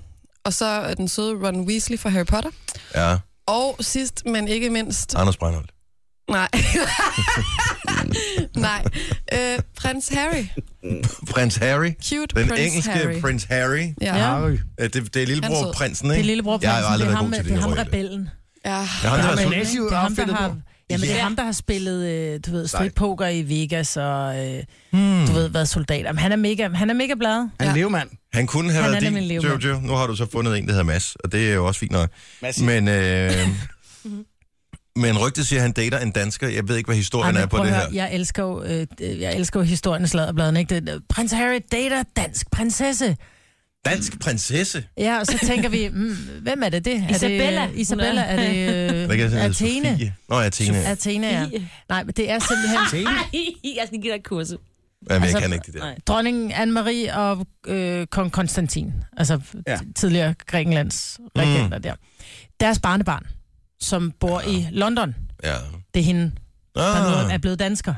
Speaker 2: Og så øh, den søde Ron Weasley fra Harry Potter.
Speaker 1: Ja.
Speaker 2: Og sidst, men ikke mindst...
Speaker 1: Anders Breinholt.
Speaker 2: Nej. Nej. Øh, prins Harry.
Speaker 1: Prins Harry.
Speaker 2: Cute
Speaker 1: Den
Speaker 2: prins
Speaker 1: engelske
Speaker 2: Harry.
Speaker 1: prins Harry.
Speaker 3: Ja.
Speaker 2: Ja. ja.
Speaker 4: Harry.
Speaker 1: Øh, Det, det er
Speaker 2: Han er
Speaker 1: lillebror
Speaker 2: sød.
Speaker 1: prinsen, ikke?
Speaker 3: Det er lillebror
Speaker 1: Jeg har
Speaker 3: prinsen,
Speaker 1: aldrig
Speaker 3: det er
Speaker 1: været
Speaker 3: ham,
Speaker 1: god til
Speaker 3: det
Speaker 1: det
Speaker 3: er ham
Speaker 1: rolle.
Speaker 3: rebellen.
Speaker 2: ja.
Speaker 1: Det er altså- ham, der har
Speaker 4: Jamen,
Speaker 1: sådan-
Speaker 4: Lasse er jo
Speaker 3: det er ham, der
Speaker 4: outfittet
Speaker 3: har,
Speaker 4: på.
Speaker 3: jamen, det
Speaker 1: Ja.
Speaker 3: er ham, der har spillet, øh, du ved, stridpoker i Vegas og, øh,
Speaker 1: Hmm.
Speaker 3: du ved, været soldat. Jamen, han er mega, han er mega blad.
Speaker 4: Han er
Speaker 2: Ja.
Speaker 4: levemand.
Speaker 1: Han kunne have
Speaker 3: Han er
Speaker 1: været
Speaker 3: nemlig
Speaker 1: din,
Speaker 3: levemand.
Speaker 1: Jojo. Nu har du så fundet en, der hedder Mads, og det er jo også fint nok.
Speaker 4: Mads.
Speaker 1: Men, øh, men rygtet siger, at han dater en dansker. Jeg ved ikke, hvad historien Ej,
Speaker 3: Ej, men
Speaker 1: er på
Speaker 3: prøv
Speaker 1: det
Speaker 3: at
Speaker 1: her.
Speaker 3: høre, Jeg elsker jo, øh, øh, jeg elsker jo historien i sladderbladene, ikke? Det, prins Harry dater dansk prinsesse.
Speaker 1: Dansk prinsesse?
Speaker 3: Ja, og så tænker vi, mm, hvem er det det? Er
Speaker 5: Isabella.
Speaker 3: Det, øh, Isabella, er det
Speaker 1: Hvad kan jeg
Speaker 3: øh,
Speaker 1: sige?
Speaker 3: Athene?
Speaker 1: Sofie? Nå, Athene. Ja,
Speaker 3: Athene, ja.
Speaker 5: Sofie.
Speaker 3: Nej, men det er simpelthen...
Speaker 5: jeg skal give dig kurset.
Speaker 1: men jeg
Speaker 3: altså,
Speaker 1: kan ikke det der.
Speaker 5: nej.
Speaker 3: dronningen Anne-Marie og øh, kong Konstantin, altså
Speaker 4: Ja.
Speaker 3: ja. tidligere Grækenlands regenter
Speaker 1: Mm.
Speaker 3: der. Deres barnebarn, som bor ja. i London,
Speaker 1: Ja.
Speaker 3: det er hende, der nu
Speaker 1: Ah,
Speaker 3: er blevet dansker.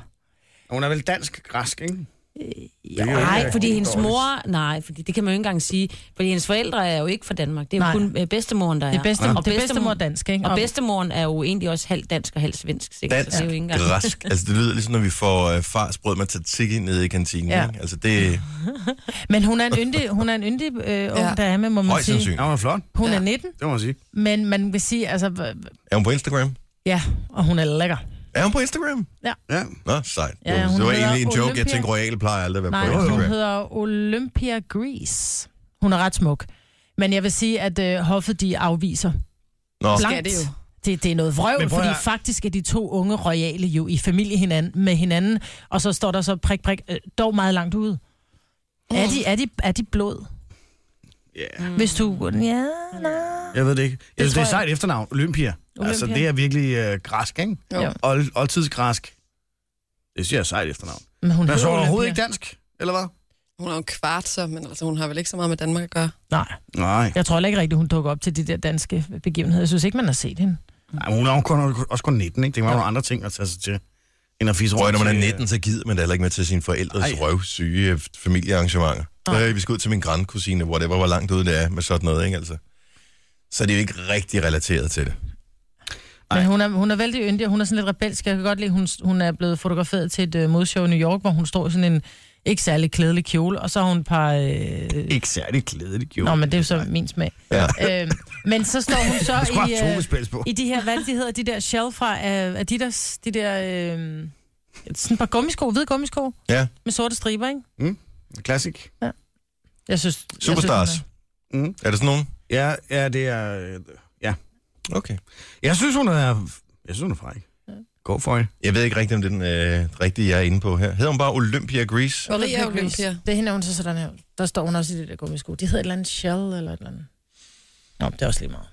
Speaker 4: Hun er vel dansk-græsk, ikke?
Speaker 5: Ja,
Speaker 4: jo ikke
Speaker 5: nej, fordi
Speaker 4: rigtig
Speaker 5: hendes
Speaker 4: dårligt.
Speaker 5: mor... Nej, fordi det kan man jo ikke engang sige. Fordi hendes forældre er jo ikke fra Danmark. Det er jo
Speaker 3: Nej.
Speaker 5: kun øh, bedstemoren, der er.
Speaker 3: Det er bedstemor,
Speaker 5: Og
Speaker 3: det er bedstemor
Speaker 5: bedstemor-
Speaker 3: dansk, ikke?
Speaker 5: Og bedstemoren er jo egentlig også halvt dansk og halvt svensk, sikkert.
Speaker 1: Dansk.
Speaker 5: Så det er jo ikke engang...
Speaker 1: græsk. Altså, det lyder ligesom, når vi får øh, farsbrød med tzatziki nede i kantinen.
Speaker 3: Ja.
Speaker 1: Ja. Altså, det er
Speaker 3: Men hun er en yndig, hun er en yndig øh, ung
Speaker 2: Ja.
Speaker 3: ja. dame, må man
Speaker 1: højst
Speaker 3: sige.
Speaker 1: sandsynligt.
Speaker 4: Ja, hun er flot.
Speaker 3: Hun
Speaker 2: Ja.
Speaker 3: er 19,
Speaker 4: Det må man sige.
Speaker 3: men man vil sige, altså, øh,
Speaker 1: Er hun på Instagram?
Speaker 3: ja, og hun er lækker.
Speaker 1: Er hun på Instagram?
Speaker 4: Ja.
Speaker 1: Nå, sejt.
Speaker 3: Ja,
Speaker 1: Ja,
Speaker 3: hun
Speaker 1: det var
Speaker 3: hedder
Speaker 1: egentlig en joke. Jeg
Speaker 3: Olympia.
Speaker 1: tænkte, Royale plejer aldrig at være
Speaker 3: Nej,
Speaker 1: på
Speaker 3: hun
Speaker 1: Instagram.
Speaker 3: hedder Olympia Grease. Hun er ret smuk. Men jeg vil sige, at øh, hoffet, de afviser
Speaker 1: Nå,
Speaker 2: Skal
Speaker 3: Blankt.
Speaker 2: det jo.
Speaker 3: Det, det er noget
Speaker 4: Men
Speaker 3: vrøvl,
Speaker 4: prøv at
Speaker 3: fordi
Speaker 4: høre.
Speaker 3: faktisk er de to unge royale jo i familie hinanden, med hinanden, og så står der så prik, prik, øh, dog meget langt ude. Er, de, er, de, er de blod?
Speaker 4: Yeah.
Speaker 3: Hvis du... Ja, nej.
Speaker 4: Jeg ved det ikke. Jeg synes, det,
Speaker 3: tror
Speaker 4: er
Speaker 3: jeg-
Speaker 4: sejt efternavn. Olympia. Altså,
Speaker 3: Olympia.
Speaker 4: det er virkelig øh, græsk, ikke?
Speaker 2: Jo.
Speaker 3: Jo.
Speaker 4: Old, oldtidsgræsk. Det siger jeg er sejt efternavn.
Speaker 3: Men hun
Speaker 4: Men så er
Speaker 3: hedder
Speaker 4: hun overhovedet ikke
Speaker 3: Olympia.
Speaker 4: dansk, eller hvad?
Speaker 2: Hun er jo kvart, så, men altså, hun har vel ikke så meget med Danmark at gøre.
Speaker 3: Nej,
Speaker 4: Nej.
Speaker 3: jeg tror heller ikke rigtigt, hun dukker op til de der danske begivenheder. Jeg synes ikke, man har set hende.
Speaker 4: Nej, men hun er jo kun, også kun 19, ikke? Det kan være nogle andre ting at tage sig til, end at fise
Speaker 1: Prøv at,
Speaker 4: rundt.
Speaker 1: når man er
Speaker 4: til- øh,
Speaker 1: 19, så gider man da heller ikke med til sine forældres
Speaker 4: Ej.
Speaker 1: Ej. røvsyge øh, familiearrangementer.
Speaker 3: Nej.
Speaker 1: Øh, vi skal ud til min grandkusine, whatever, hvor langt ude det er med sådan noget, ikke altså? Så er det jo ikke rigtig relateret til det.
Speaker 3: Men hun er, hun er vældig yndig, og hun er sådan lidt rebelsk. Jeg kan godt lide, hun, hun er blevet fotograferet til et øh, modshow i New York, hvor hun står i sådan en ikke særlig klædelig kjole, og så har hun et par... Øh,
Speaker 4: Ikke særlig glædeligt, jo.
Speaker 3: Nå, men det er jo så min smag.
Speaker 1: Ja.
Speaker 3: Øh, men så står hun så
Speaker 4: Bare
Speaker 3: i... øh,
Speaker 4: togespils på.
Speaker 3: I de her, hvad er det, de hedder, de der shell fra uh, Adidas, de der, øh, sådan et par gummisko, hvide gummisko
Speaker 1: Ja,
Speaker 3: med sorte striber, ikke?
Speaker 4: Klassik.
Speaker 3: Jeg synes,
Speaker 1: Superstars.
Speaker 3: Jeg synes,
Speaker 4: Mm.
Speaker 1: Er der sådan nogen?
Speaker 4: Ja, ja, det er... øh, Ja.
Speaker 1: Okay.
Speaker 4: Jeg synes, hun er... Jeg synes, hun er fræk. Gå for det.
Speaker 1: Jeg ved ikke rigtigt, om det er den øh, rigtige, jeg er inde på her. Hedder hun bare Olympia Grease?
Speaker 2: Maria
Speaker 3: Olympia Grease.
Speaker 2: Olympia.
Speaker 3: Det hænder hun så sådan her. Der står hun også i de der gummisko. De hedder et eller andet shell eller et eller andet. Nå, det er også lige meget.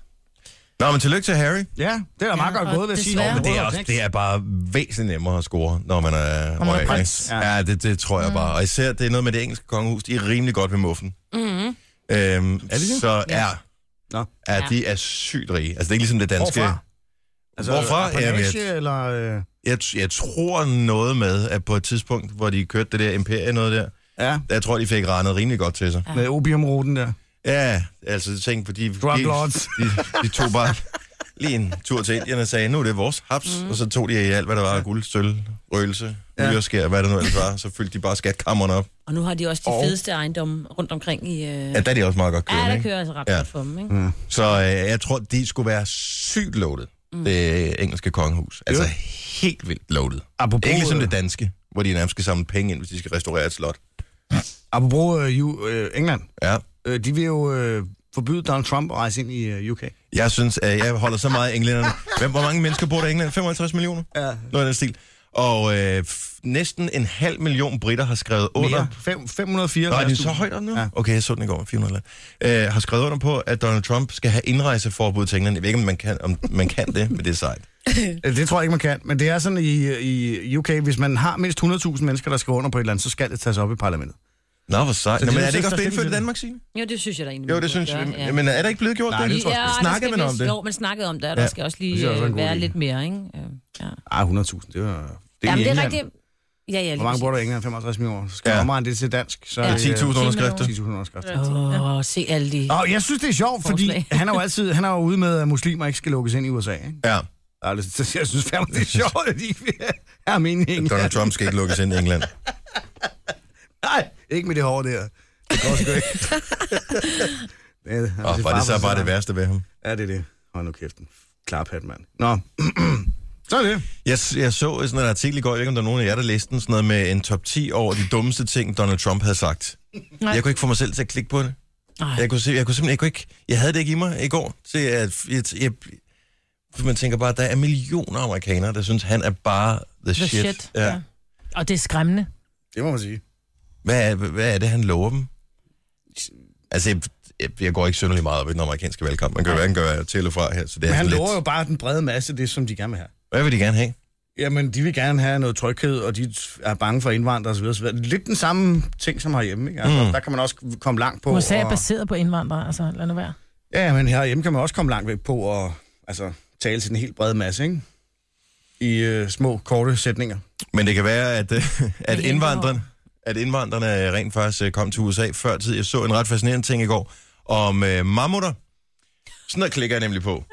Speaker 1: Nå, men tillykke til Harry.
Speaker 4: Ja, det er da meget
Speaker 3: Ja,
Speaker 4: godt
Speaker 3: og
Speaker 4: gået ved at sige.
Speaker 3: desværre-
Speaker 1: Men det er, også, det er bare væsentligt nemmere at score, når man er
Speaker 3: man er
Speaker 1: royal.
Speaker 3: prins.
Speaker 1: ikke? Ja, det, det tror jeg bare. Og især, det er noget med det engelske kongehus. De er rimelig godt ved muffen. Mm-hmm. Øhm, er
Speaker 4: det det?
Speaker 1: Så er,
Speaker 4: Nå.
Speaker 1: er de er sygt rige. Altså, det er ikke ligesom det danske.
Speaker 4: Hvorfra? Altså,
Speaker 1: Hvorfra?
Speaker 4: Apanage,
Speaker 1: Ja,
Speaker 4: eller... Øh,
Speaker 1: Jeg, jeg tror noget med, at på et tidspunkt, hvor de kørte det der imperie noget der,
Speaker 4: ja,
Speaker 1: jeg tror, de fik regnet rimelig godt til sig.
Speaker 4: øh, med opiumruten der.
Speaker 1: Ja, altså tænk på de...
Speaker 4: Drug
Speaker 1: de,
Speaker 4: lords.
Speaker 1: de, de tog bare lige en tur til Indien og sagde, nu er det vores haps. Mm. Og så tog de i alt, hvad der var af guld, sølv, røgelse,
Speaker 4: Ja.
Speaker 1: ja. nyerskær, hvad der nu ellers var. Så fyldte de bare skatkammerne op.
Speaker 5: Og nu har de også de
Speaker 1: Og-
Speaker 5: fedeste ejendomme rundt omkring i... Øh...
Speaker 1: Ja,
Speaker 5: Ja,
Speaker 1: der er de også meget godt kørende,
Speaker 5: der
Speaker 1: ikke?
Speaker 5: kører altså ret
Speaker 1: Ja.
Speaker 5: ja. godt for dem, ikke? Mm.
Speaker 1: Så øh, jeg tror, de skulle være sygt loaded, mm. det engelske kongehus. Altså
Speaker 4: Jo.
Speaker 1: helt vildt loaded.
Speaker 4: Apropos,
Speaker 1: Ikke ligesom
Speaker 4: øh,
Speaker 1: det danske, hvor de nærmest skal samle penge ind, hvis de skal restaurere et slot.
Speaker 4: Apropos øh, U- øh, England.
Speaker 1: Ja.
Speaker 4: Øh, de vil jo øh, forbyde Donald Trump at rejse ind i øh, UK.
Speaker 1: Jeg synes, at jeg holder så meget af englænderne. Hvem, hvor mange mennesker bor der i England? 55 millioner?
Speaker 4: Ja.
Speaker 1: Noget af den stil. Og øh, f- næsten en halv million britter har skrevet under...
Speaker 4: Mere. Fem- 504.
Speaker 1: Nej, det er så højt op nu?
Speaker 4: Ja.
Speaker 1: Ja. Okay, jeg så den i går, 400 land. Øh, har skrevet under på, at Donald Trump skal have indrejseforbud til England. Jeg ved ikke, om man kan, om man kan det, men det er sejt.
Speaker 4: Øh, Det tror jeg ikke, man kan. Men det er sådan i, i UK, hvis man har mindst 100.000 mennesker, der skriver under på et eller andet, så skal det tages op i parlamentet.
Speaker 1: Nå, hvor sejt.
Speaker 4: Så
Speaker 1: Nå,
Speaker 4: det
Speaker 1: men
Speaker 4: er
Speaker 1: er det ikke også
Speaker 4: så
Speaker 1: blevet
Speaker 4: stilling
Speaker 1: indført i
Speaker 4: til
Speaker 1: Danmark, Signe?
Speaker 5: Jo, det synes jeg da egentlig,
Speaker 1: Jo,
Speaker 5: man
Speaker 1: det
Speaker 5: burde
Speaker 1: synes
Speaker 5: gøre,
Speaker 1: jeg.
Speaker 5: ja.
Speaker 1: Men er der ikke blevet gjort
Speaker 4: Nej,
Speaker 1: det?
Speaker 4: det tror jeg
Speaker 5: der
Speaker 1: Snakkede
Speaker 5: skal
Speaker 1: man om
Speaker 5: vist-
Speaker 1: det?
Speaker 5: Jo, man snakkede om det, og
Speaker 1: Ja.
Speaker 5: der skal også
Speaker 4: Det
Speaker 5: lige
Speaker 4: synes jeg også er en
Speaker 5: øh,
Speaker 4: god
Speaker 5: være
Speaker 4: idé.
Speaker 5: lidt mere, ikke? Øh, Ja.
Speaker 4: Ej, 100.000, det er det er, i
Speaker 5: Jamen, det er
Speaker 4: England.
Speaker 5: rigtigt. Ja, ja, lige
Speaker 4: Hvor mange
Speaker 5: præcis.
Speaker 4: bor der i England? 55 millioner. Så skal
Speaker 1: Ja.
Speaker 4: ja. omregne det til dansk, så
Speaker 1: Det
Speaker 4: er
Speaker 1: er
Speaker 4: det,
Speaker 1: 10.000 underskrifter.
Speaker 4: 10.000 underskrifter.
Speaker 5: Åh, oh, se alle de...
Speaker 4: Og jeg synes, det er sjovt, fordi
Speaker 5: Forslag.
Speaker 4: han er jo altid han er jo ude med, at muslimer ikke skal lukkes ind i USA. Ikke?
Speaker 1: Ja,
Speaker 4: Altså, jeg synes fandme, det er sjovt, at de ikke vil have meningen.
Speaker 1: Donald Trump skal ikke lukkes ind i England.
Speaker 4: Nej, ikke med det hår der. Det går sgu ikke. Ja, altså,
Speaker 1: Og var det så
Speaker 4: farfar,
Speaker 1: bare det
Speaker 4: der.
Speaker 1: værste ved ham?
Speaker 4: Ja, det er det. Hold nu kæften. Klaphat, mand. Nå. så er det.
Speaker 1: Jeg, jeg så sådan en artikel i går, jeg ved ikke om der er nogen af jer, der læste den, sådan noget med en top 10 over de dummeste ting, Donald Trump havde sagt. Nej. Jeg kunne ikke få mig selv til at klikke på det.
Speaker 5: Nej.
Speaker 1: Jeg kunne, se, jeg kunne simpelthen jeg kunne ikke, jeg havde det ikke i mig i går, til at jeg, jeg, for man tænker bare, at der er millioner af amerikanere, der synes, han er bare the,
Speaker 3: The shit. shit. Ja. Ja. Og det er skræmmende.
Speaker 4: Det må man sige.
Speaker 1: Hvad, er, hvad er det, han lover dem? Altså, jeg, jeg, jeg går ikke synderligt meget op i den amerikanske valgkamp. Man kan jo hverken gøre til eller fra her, så det er
Speaker 4: Men han
Speaker 1: sådan
Speaker 4: lover jo
Speaker 1: lidt...
Speaker 4: bare den brede masse, det som de gerne vil have.
Speaker 1: Hvad vil de gerne have?
Speaker 4: Jamen, de vil gerne have noget tryghed, og de er bange for indvandrere osv. osv. Lidt den samme ting som herhjemme, ikke? Altså, mm. Der kan man også komme langt på.
Speaker 3: USA er
Speaker 4: og-
Speaker 3: baseret på indvandrere, altså lad nu være.
Speaker 4: Ja, men herhjemme kan man også komme langt væk på og altså, tale til den helt brede masse, ikke? I øh, små, korte sætninger.
Speaker 1: Men det kan være, at, øh, at,
Speaker 5: henter
Speaker 1: indvandrerne, at indvandrerne rent faktisk øh, kom til USA før tid. Jeg så en ret fascinerende ting i går om øh, mammutter. Sådan noget klikker jeg nemlig på.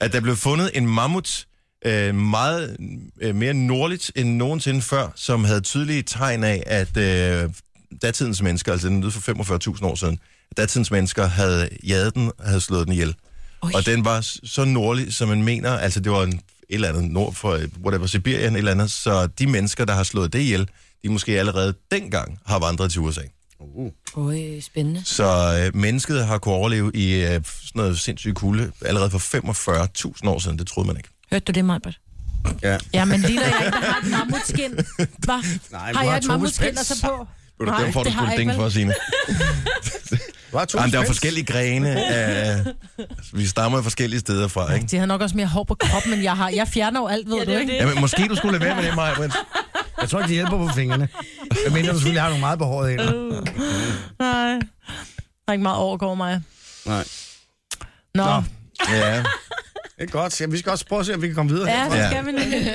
Speaker 1: At der blev fundet en mammut øh, meget øh, mere nordligt end nogensinde før, som havde tydelige tegn af, at øh, datidens mennesker, altså den lød for 45.000 år siden, at datidens mennesker havde jaget den og havde slået den ihjel.
Speaker 5: Oj.
Speaker 1: Og den var s- så nordlig, som man mener, altså det var en, et eller andet nord for, øh, whatever, Sibirien et eller andet, så de mennesker, der har slået det ihjel, de måske allerede dengang har vandret til USA.
Speaker 4: Uh.
Speaker 5: Øj, spændende.
Speaker 1: Så øh, mennesket har kunnet overleve i øh, sådan noget sindssygt kulde allerede for 45.000 år siden, det troede man ikke.
Speaker 5: Hørte du det, Majbert?
Speaker 4: Ja.
Speaker 3: Ja, men ligner jeg ikke, der har et mammutskin? Hva? har
Speaker 4: Nej, du
Speaker 3: jeg
Speaker 4: har
Speaker 3: et
Speaker 4: Thomas
Speaker 3: mammutskin,
Speaker 4: Pels.
Speaker 3: der så på?
Speaker 1: Ved du, dem får du
Speaker 3: det
Speaker 1: sgu
Speaker 3: har
Speaker 1: et
Speaker 3: jeg
Speaker 1: ding
Speaker 3: ikke,
Speaker 1: for,
Speaker 3: vel?
Speaker 1: Signe.
Speaker 4: Var to
Speaker 1: Jamen, der er jo
Speaker 4: spænds.
Speaker 1: forskellige grene. Af, altså, vi stammer forskellige steder fra, ikke?
Speaker 3: De havde nok også mere hår på kroppen, end jeg har. Jeg fjerner jo alt, ved ja,
Speaker 5: det
Speaker 3: du,
Speaker 5: er
Speaker 3: ikke?
Speaker 5: det.
Speaker 1: Jamen, måske du skulle lade være med det, Maja. Britt.
Speaker 4: Jeg tror ikke, de hjælper på fingrene. Jeg mener, du selvfølgelig har nogle meget behårede hænder.
Speaker 3: Øh. Nej. Der er ikke meget overgår mig.
Speaker 4: Nej.
Speaker 3: Nå,
Speaker 4: Nå.
Speaker 3: Nå.
Speaker 1: Ja,
Speaker 4: Det er godt. Ja, vi skal også prøve at se, om vi kan komme videre.
Speaker 3: ja,
Speaker 4: herfra.
Speaker 3: det
Speaker 1: Ja.
Speaker 3: skal vi nemlig.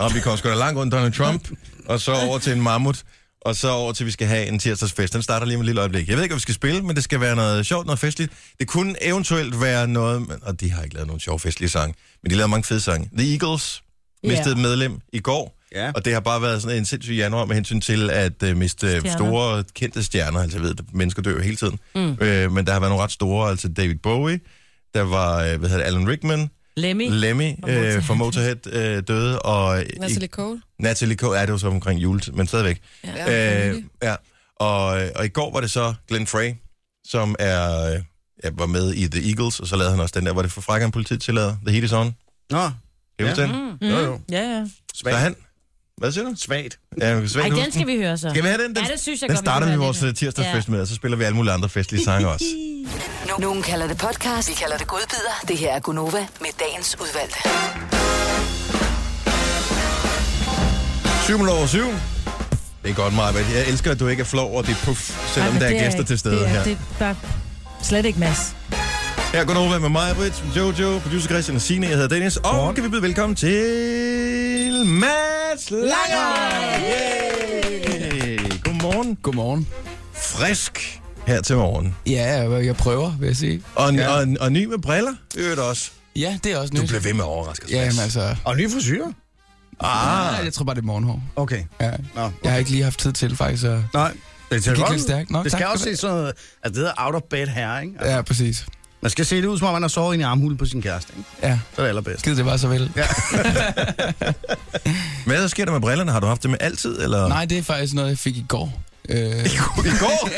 Speaker 1: og vi kommer sgu da langt rundt Donald Trump, og så over til en mammut, og så over til, vi skal have en tirsdagsfest. Den starter lige om et lille øjeblik. Jeg ved ikke, hvad vi skal spille, men det skal være noget sjovt, noget festligt. Det kunne eventuelt være noget, men- og de har ikke lavet nogen sjove festlige sange, men de lavede mange fede sange. The Eagles mistede
Speaker 3: Ja.
Speaker 1: yeah. medlem i går,
Speaker 4: Ja.
Speaker 1: og det har bare været sådan en sindssyg januar med hensyn til at uh, miste stjerner. store kendte stjerner. Altså jeg ved, at mennesker dør jo hele tiden. Mm. Uh, men der har været nogle ret store, altså David Bowie, der var, uh, hvad hedder det, Alan Rickman,
Speaker 5: Lemmy.
Speaker 1: Lemmy øh, fra Motorhead øh, døde, og øh,
Speaker 2: Natalie Cole. Mm.
Speaker 1: Natalie Cole, ja, det var så omkring jul, men stadigvæk.
Speaker 2: Ja,
Speaker 1: Øh, ja. Og, øh, og i går var det så Glenn Frey, som er, øh, ja, var med i The Eagles, og så lavede han også den der, hvor det for frakkeren politiet tillader, The Heat is On.
Speaker 4: Nå,
Speaker 1: Kan ja. den?
Speaker 4: jo jo.
Speaker 3: Ja, ja.
Speaker 1: Så
Speaker 4: Svagt.
Speaker 1: han, hvad siger du?
Speaker 4: Svagt.
Speaker 1: Ja,
Speaker 5: Ej,
Speaker 1: Svend,
Speaker 5: den skal vi høre så.
Speaker 1: Skal vi have den? den
Speaker 5: Ja, det synes jeg
Speaker 1: den
Speaker 5: godt, vi
Speaker 1: starter
Speaker 5: kan
Speaker 1: vi
Speaker 5: høre
Speaker 1: vores
Speaker 5: lidt.
Speaker 1: øh, tirsdagsfest med, og så spiller vi alle mulige andre festlige sange også.
Speaker 6: No- Nogen kalder det podcast, vi kalder det godbider. Det her er Gunova med dagens udvalgte.
Speaker 1: 7 minutter over 7. Det er godt, Maja. Jeg elsker, at du ikke er flov over dit puff, selvom
Speaker 3: men
Speaker 1: der er
Speaker 3: det
Speaker 1: gæster til stede
Speaker 3: det er,
Speaker 1: her.
Speaker 3: Det, der er slet ikke mas.
Speaker 1: Her går over med mig, Britt, Jojo, producer Christian og Signe. Jeg hedder Dennis. Og kan vi byde velkommen til Mads Langer! Yay! Godmorgen.
Speaker 7: Godmorgen.
Speaker 1: Frisk her til morgen.
Speaker 7: Ja, jeg- jeg prøver, vil jeg sige.
Speaker 1: Og, ja.
Speaker 7: Ja.
Speaker 1: og, og, ny med briller. Øvrigt også.
Speaker 7: Ja, det er også nyt.
Speaker 1: Du blev ved med overraskelsen.
Speaker 7: Jamen altså,
Speaker 4: Og ny frisyrer?
Speaker 7: ah. jeg tror bare, det er morgenhår.
Speaker 4: Okay.
Speaker 7: Ja.
Speaker 4: Nå,
Speaker 7: Jeg har ikke lige haft tid til, faktisk. Og...
Speaker 4: Nej. Det, ser
Speaker 7: gik
Speaker 4: godt
Speaker 7: lidt
Speaker 4: ud.
Speaker 7: stærkt. Nå,
Speaker 4: det
Speaker 7: tak.
Speaker 4: skal også se sådan noget, altså det hedder out of bed her, ikke? Altså,
Speaker 7: Ja, præcis.
Speaker 4: Man skal se det ud, som om man har sovet ind i armhulen på sin kæreste, ikke?
Speaker 7: Ja,
Speaker 4: Så er det allerbedst.
Speaker 7: skid det bare så vel. Ja.
Speaker 1: Hvad der sker der med brillerne? Har du haft dem altid? Eller?
Speaker 7: Nej, det er faktisk noget, jeg fik i går. Øh,
Speaker 1: I går?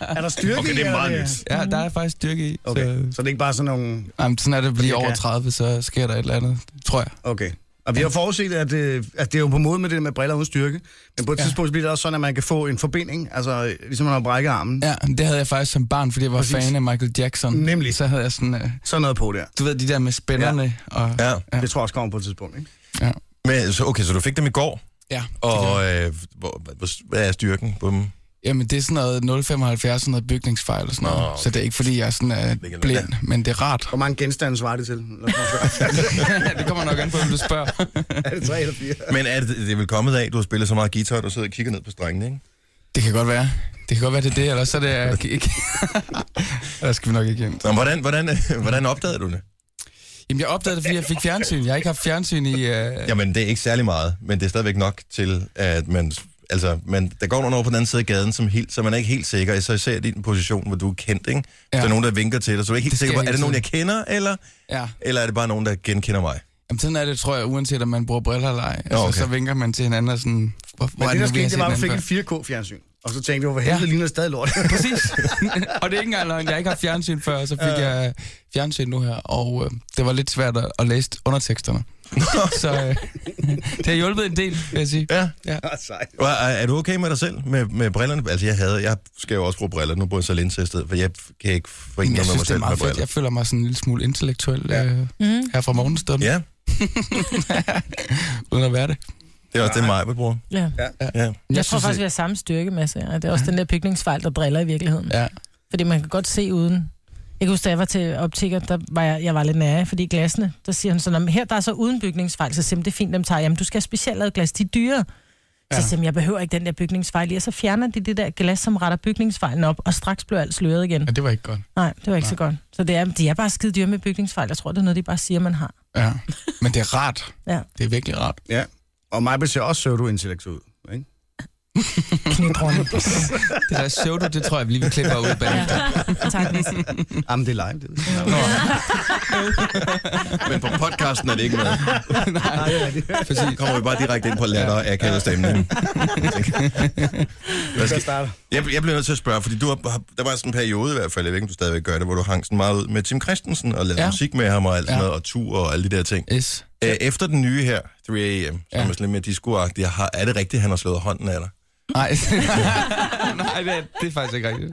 Speaker 4: Er der styrke
Speaker 1: Okay, det er
Speaker 4: i,
Speaker 1: meget
Speaker 4: eller-
Speaker 1: nyt.
Speaker 7: ja, der er faktisk styrke i.
Speaker 4: Okay,
Speaker 7: Så...
Speaker 4: så det er ikke bare sådan nogle
Speaker 7: Jamen, sådan er det at blive
Speaker 4: Fordi jeg
Speaker 7: over
Speaker 4: kan.
Speaker 7: 30, så sker der et eller andet, tror jeg.
Speaker 4: Okay. Og vi har forudset, at, øh, at det er jo på måde med det der med briller uden styrke. Men på et ja. tidspunkt bliver det også sådan, at man kan få en forbinding. Altså, ligesom man har brækket armen. Ja.
Speaker 7: Ja, men det havde jeg faktisk som barn, fordi jeg var
Speaker 4: Præcis.
Speaker 7: Præcis. fan af Michael Jackson.
Speaker 4: Nemlig.
Speaker 7: Så havde jeg sådan, øh,
Speaker 4: Sådan noget på der.
Speaker 7: du ved, de der med spænderne. Ja. Og,
Speaker 1: Ja.
Speaker 4: Ja. Det tror jeg også kommer på et tidspunkt, ikke?
Speaker 7: ja.
Speaker 1: Men, så, okay, så du fik dem i går.
Speaker 7: ja.
Speaker 1: Og øh, hvor, hvor, hvad er styrken på dem?
Speaker 7: Jamen, det er sådan noget 075, sådan noget bygningsfejl og sådan noget.
Speaker 1: Nå, okay.
Speaker 7: Så det er ikke, fordi jeg er sådan
Speaker 1: kan være.
Speaker 7: er blind, men det er rart.
Speaker 4: Hvor mange genstande svarer det til? Eller sådan noget.
Speaker 7: det kommer nok an på, hvem du spørger.
Speaker 4: er det tre eller fire?
Speaker 1: Men er det, det er vel kommet af, at du har spillet så meget guitar, at du sidder og kigger ned på strengene, ikke?
Speaker 7: det kan godt være. Det kan godt være, det er det, eller så er det øh, ikke. Ellers skal vi nok ikke hjem.
Speaker 1: Nå, men hvordan, hvordan, hvordan opdagede du det?
Speaker 7: Jamen, jeg opdagede det, fordi jeg fik fjernsyn. Jeg har ikke haft fjernsyn i... Øh...
Speaker 1: Jamen, det er ikke særlig meget, men det er stadigvæk nok til, at man... Altså, man, der går nogen over på den anden side af gaden, som helt, så man er ikke helt sikker, især, især din position, hvor du er kendt, ikke? Ja.
Speaker 7: Ja.
Speaker 1: Så er nogen, der vinker til dig, så er du ikke helt
Speaker 7: Det
Speaker 1: sikker på,
Speaker 7: sker
Speaker 1: er det
Speaker 7: hele
Speaker 1: nogen, jeg kender, eller,
Speaker 7: Ja.
Speaker 1: eller er det bare nogen, der genkender mig?
Speaker 7: Jamen, sådan er det, tror jeg, uanset om man bruger briller eller ej. Altså,
Speaker 1: okay.
Speaker 7: okay. så vinker man til hinanden og sådan... Hvor, hvor
Speaker 4: Men det, der
Speaker 7: vi har
Speaker 4: skete, det
Speaker 7: set
Speaker 4: var, at man fik
Speaker 7: hinanden
Speaker 4: et 4K-fjernsyn. Og så tænkte jeg, hvor helvede ja.
Speaker 7: Ja.
Speaker 4: ligner det stadig lort.
Speaker 7: før?" Præcis. og det er ikke engang løgn. Jeg har ikke haft fjernsyn før, og så fik jeg øh, fjernsyn nu her. Og øh, det var lidt svært at, at læse underteksterne. så øh, det har hjulpet en del, vil jeg sige.
Speaker 1: Ja.
Speaker 7: Ja.
Speaker 4: Ah, sejt.
Speaker 1: Og Er, er du okay med dig selv med, med brillerne? Altså, jeg havde, jeg skal jo også bruge briller, nu bruger jeg så linser i stedet, for jeg kan ikke forene
Speaker 7: Jamen,
Speaker 1: mig
Speaker 7: jeg
Speaker 1: med mig
Speaker 7: synes, det er
Speaker 1: selv med
Speaker 7: meget fedt.
Speaker 1: briller.
Speaker 7: Jeg føler mig sådan en lille smule intellektuel ja. øh, her fra morgenstunden, ja.
Speaker 1: Ja,
Speaker 7: uden at være det.
Speaker 1: det er også det, mig bruger.
Speaker 3: Ja. Jeg,
Speaker 1: Ja.
Speaker 3: jeg tror
Speaker 7: synes,
Speaker 3: faktisk, vi
Speaker 7: at-
Speaker 3: har samme styrkemasse. Ja. Det er også den der bygningsfejl, der driller i virkeligheden.
Speaker 7: Ja.
Speaker 3: Fordi man kan godt se uden. Jeg kan huske, da jeg var til optiker, der var jeg, jeg var lidt nære, fordi glasene, der siger han sådan, "Nå, men her der er så uden bygningsfejl, så simpelthen det er fint, dem tager. jeg." Jamen, du skal have specielt lavet glas, de er dyre. Ja. Så
Speaker 7: Ja.
Speaker 3: siger jeg, "Jamen, jeg behøver ikke den der bygningsfejl i, og så fjerner de det der glas, som retter bygningsfejlen op, og straks bliver alt sløret igen.
Speaker 7: ja, det var ikke godt.
Speaker 3: Nej, det var ikke Nej. så godt. Så det er, de er bare skide dyre med bygningsfejl. Jeg tror, det er noget, de bare siger, man har.
Speaker 7: Ja. Men det er rart.
Speaker 3: Ja.
Speaker 7: Det er virkelig rart.
Speaker 4: Ja. Og mig ser også pseudo-intellekt ud. Ikke?
Speaker 3: Knytrunde.
Speaker 7: Det der pseudo, det tror jeg, vi lige vil klippe ud bag.
Speaker 3: tak, Nis.
Speaker 4: Jamen, det er live, det ved jeg.
Speaker 1: Men på podcasten er det ikke med.
Speaker 4: Nej, det er rigtigt.
Speaker 1: Præcis. Kommer vi bare direkte ind på latter og akavet stemning.
Speaker 4: Det er der starter.
Speaker 1: Jeg, jeg bliver nødt til at spørge, fordi du har, har- der var sådan en periode i hvert fald, jeg ved ikke, om du stadigvæk gør det, hvor du hang sådan meget ud med Tim Christensen og lavede ja.
Speaker 7: Ja.
Speaker 1: musik med ham og alt sådan
Speaker 7: Ja.
Speaker 1: noget, og tur og alle de der ting.
Speaker 7: Yes.
Speaker 1: Ja. Efter den nye her, 3 AM, som
Speaker 7: Ja.
Speaker 1: er sådan lidt mere disco har, er det rigtigt, han har slået hånden af dig?
Speaker 7: Nej. Nej, det er, det er faktisk ikke rigtigt.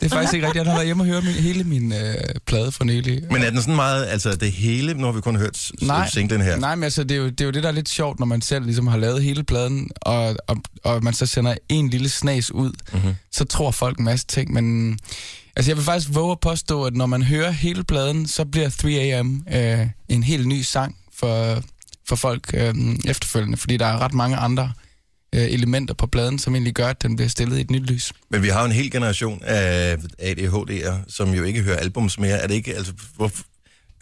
Speaker 7: Det er faktisk ikke rigtigt. Jeg har været hjemme og hørt min, hele min øh, plade for nylig.
Speaker 1: Men er den sådan meget, altså det hele, nu har vi kun hørt s- s- singlen her.
Speaker 7: Nej, men altså, det er, jo, det er jo det, der er lidt sjovt, når man selv ligesom har lavet hele pladen, og, og, og man så sender en lille snas ud,
Speaker 1: Mhm.
Speaker 7: mm-hmm. så tror folk en masse ting, men... Altså, jeg vil faktisk våge at påstå, at når man hører hele pladen, så bliver 3AM øh, en helt ny sang for, for folk øh, efterfølgende, fordi der er ret mange andre øh, elementer på pladen, som egentlig gør, at den bliver stillet i et nyt lys.
Speaker 1: Men vi har jo en hel generation af ADHD'er, som jo ikke hører albums mere. Er det ikke, altså, hvor,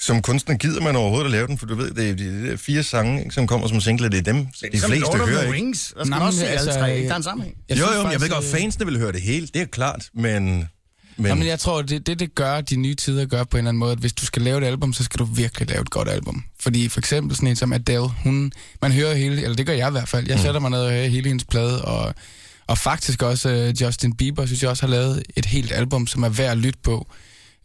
Speaker 1: som kunstner gider man overhovedet at lave den, for du ved, det er de der fire sange, ikke, som kommer som single, det er ligesom dem, de fleste hører ikke.
Speaker 4: Rings. Der skal
Speaker 7: Nej,
Speaker 4: man også se
Speaker 7: men
Speaker 4: alle
Speaker 7: altså,
Speaker 4: tre, ikke? Der er en sammenhæng.
Speaker 1: Jeg jo,
Speaker 7: synes
Speaker 1: jo, men jeg ved
Speaker 7: faktisk,
Speaker 1: godt,
Speaker 7: øh,
Speaker 1: fansene vil høre det hele, det er klart, men... men,
Speaker 7: Jamen, jeg tror, det, det, det gør de nye tider gør på en eller anden måde, at hvis du skal lave et album, så skal du virkelig lave et godt album. Fordi for eksempel sådan en som Adele, hun, man hører hele, eller det gør jeg i hvert fald, jeg sætter mig ned og hører hele hendes plade, og, og faktisk også øh, Justin Bieber, synes jeg også har lavet et helt album, som er værd at lytte på.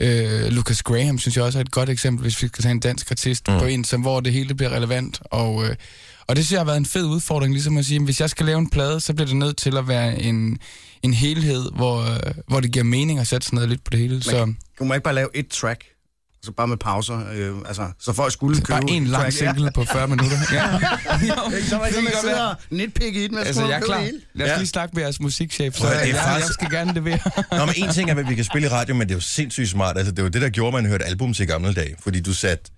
Speaker 7: Øh, Lucas Graham, synes jeg også er et godt eksempel, hvis vi skal tage en dansk artist mm. på en, som, hvor det hele bliver relevant, og, øh, Og det synes jeg har været en fed udfordring, ligesom at sige, at hvis jeg skal lave en plade, så bliver det nødt til at være en, en helhed, hvor, øh, hvor det giver mening at sætte sig ned og lytte på det hele. Så
Speaker 4: Man, kan man ikke bare lave et track? Altså bare med pauser. Øh, altså, så folk skulle købe...
Speaker 7: bare en lang
Speaker 4: track.
Speaker 7: single på 40 minutter. Ja.
Speaker 4: Ja, ikke? så man kan ikke sidde og nitpikke i den.
Speaker 7: Altså, jeg er klar. Lad os
Speaker 1: Ja.
Speaker 7: lige snakke med jeres musikchef, så
Speaker 1: Prøv at høre,
Speaker 7: jeg,
Speaker 1: det er
Speaker 7: jeg
Speaker 1: faktisk-
Speaker 7: skal gerne levere.
Speaker 1: Nå, men en ting er, hvad vi kan spille i radio, men det er jo sindssygt smart. Altså, det var det, der gjorde, at man hørte albums i gamle dage. Fordi du satte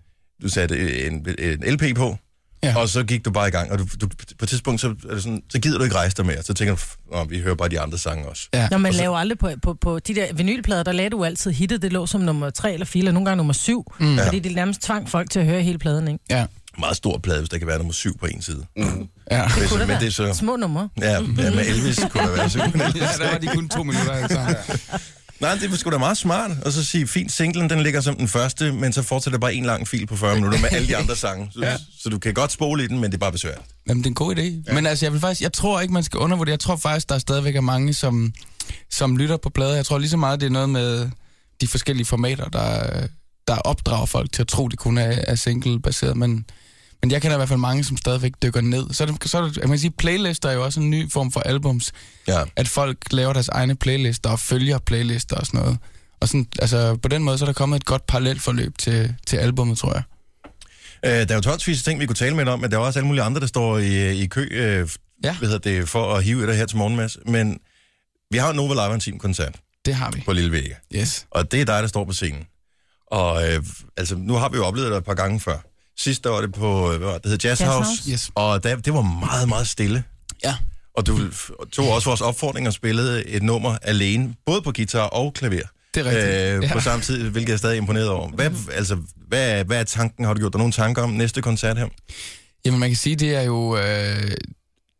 Speaker 1: du sat en, en LP på, ja.
Speaker 7: Ja.
Speaker 1: og så gik du bare i gang. Og du, du, på et tidspunkt, så, er det sådan, så gider du ikke rejse dig mere. Så tænker du, "F- Nå, vi hører bare de andre sange også.
Speaker 7: Ja.
Speaker 3: Når man laver aldrig på, på, på de der vinylplader, der lagde du altid hittet, det lå som nummer 3 eller 4, eller nogle gange nummer 7, mm. fordi det nærmest tvang folk til at høre hele pladen, ikke?
Speaker 7: Ja.
Speaker 1: Meget stor plade, hvis der kan være nummer syv på en side. Mm.
Speaker 7: Ja.
Speaker 1: Hvis,
Speaker 3: Kunne
Speaker 1: men
Speaker 3: der
Speaker 1: det er
Speaker 3: være
Speaker 1: så...
Speaker 3: små numre?
Speaker 1: Ja, ja, med Elvis kunne der være så kunne Elvis.
Speaker 7: ja, der var de kun to minutter alle sammen.
Speaker 1: Nej, det var sgu da meget smart. Og så sige, fint, singlen den ligger som den første, men så fortsætter bare en lang fil på 40 minutter med alle de andre sange. Så, ja.
Speaker 7: Ja.
Speaker 1: så du kan godt spole i den, men det er bare besværligt.
Speaker 7: Jamen, det er en god idé. Ja. Men altså, jeg, vil faktisk, jeg tror ikke, man skal undervurdere. Jeg tror faktisk, der er stadigvæk er mange, som, som lytter på plader. Jeg tror lige så meget, det er noget med de forskellige formater, der, der opdrager folk til at tro, det kun er, er single-baseret. Men, men jeg kender i hvert fald mange, som stadigvæk dykker ned. Så, er det, så er det, man kan sige, playlister er jo også en ny form for albums.
Speaker 1: Ja.
Speaker 7: At folk laver deres egne playlister og følger playlister og sådan noget. Og sådan, altså, på den måde, så er der kommet et godt parallelt forløb til, til albummet, tror jeg.
Speaker 1: Øh, der er jo tonsvis af ting, vi kunne tale med dig om, men der er også alle mulige andre, der står i, i kø øh, ja.
Speaker 7: Ja.
Speaker 1: hvad hedder det, for at hive i dig her til morgen, Mads. Men vi har jo Nova Live Team koncert
Speaker 7: Det har vi.
Speaker 1: på Lille Vega,
Speaker 7: Yes.
Speaker 1: og det er dig, der står på scenen. Og øh, altså, nu har vi jo oplevet dig et par gange før. Sidste år var det på, øh, hvad var det, det hed Jazz
Speaker 3: Jazz
Speaker 1: House,
Speaker 3: House.
Speaker 7: Yes.
Speaker 1: og der, det var meget, meget stille.
Speaker 7: Ja.
Speaker 1: Og du tog også vores opfordring og spillede et nummer alene, både på guitar og klaver.
Speaker 7: Det er rigtigt.
Speaker 1: Øh, på
Speaker 7: Ja.
Speaker 1: samme tid, hvilket jeg er stadig imponeret over. Hvad, altså, hvad, er- hvad er tanken? Har du gjort dig nogle tanker om næste koncert her?
Speaker 7: Jamen man kan sige, det er jo øh,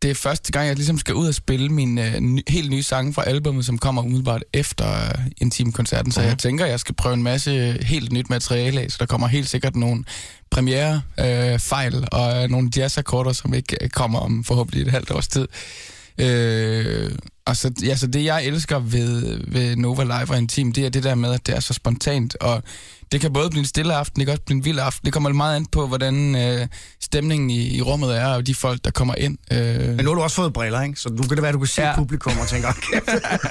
Speaker 7: det er første gang, jeg ligesom skal ud og spille min øh, ny, helt nye sange fra albumet, som kommer umiddelbart efter øh, Intim-koncerten. Så jeg tænker, jeg skal prøve en masse øh, helt nyt materiale af, så der kommer helt sikkert nogle premiere øh, fejl og øh, nogle jazzakkorder, som ikke øh, kommer om forhåbentlig et halvt års tid. Øh, og så, ja, så det, jeg elsker ved, ved Nova Live og Intim, det er det der med, at det er så spontant, og det kan både blive en stille aften, det kan også blive en vild aften. Det kommer meget an på, hvordan øh, stemningen i, i rummet er, og de folk, der kommer ind. Øh,
Speaker 4: Men nu har du også fået briller, ikke? Så nu kan det være, at du kan se ja.
Speaker 7: Ja.
Speaker 4: publikum og tænke, okay.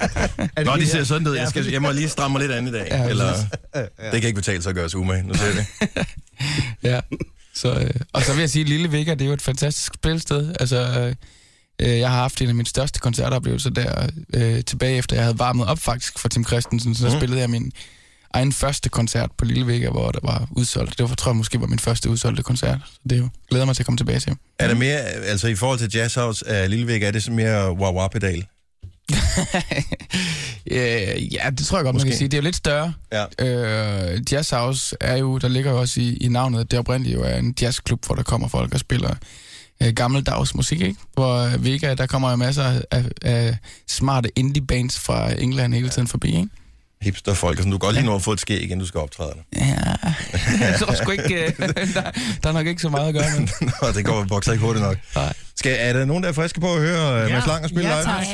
Speaker 1: Nå, de ser sådan ud. Jeg, skal, jeg må lige stramme mig lidt an i dag.
Speaker 7: Ja,
Speaker 1: Eller, det kan ikke betale sig at gøre sig umage. Nu ser jeg det.
Speaker 7: ja. så, øh, og så vil jeg sige, Lille Vigga, det er jo et fantastisk spilsted. Altså, øh, jeg har haft en af mine største koncertoplevelser der, øh, tilbage efter jeg havde varmet op faktisk for Tim Christensen, så mm. spillede jeg min egen første koncert på Lille Vigga, hvor der var udsolgt. Det var, tror jeg måske var min første udsolgte koncert. Så det er jo, glæder jeg mig til at komme tilbage til.
Speaker 1: Er det mere, altså i forhold til Jazz House af Lillevæg, er det sådan mere wah-wah-pedal?
Speaker 7: Øh, ja, det tror jeg
Speaker 1: Måske.
Speaker 7: godt, Måske. man kan sige. Det er jo lidt større.
Speaker 1: Ja.
Speaker 7: Øh, jazz House er jo, der ligger jo også i, i navnet, at det oprindeligt jo er en jazzklub, hvor der kommer folk og spiller øh, gammeldags musik, ikke? Hvor øh, Vega, der kommer jo masser af, af smarte indie bands fra England hele tiden forbi, ikke?
Speaker 1: Hipsterfolk, og sådan, du kan godt lige nå at få et skæg, inden du skal optræde. dig.
Speaker 7: Ja, jeg tror sgu ikke, øh, der, der er nok ikke så meget at gøre med.
Speaker 1: Nå, det går vokser ikke hurtigt nok.
Speaker 7: Nej.
Speaker 1: Skal, er der nogen, der er friske på at høre ja. Mads Lang og spille
Speaker 3: Ja,
Speaker 1: live?
Speaker 3: tak.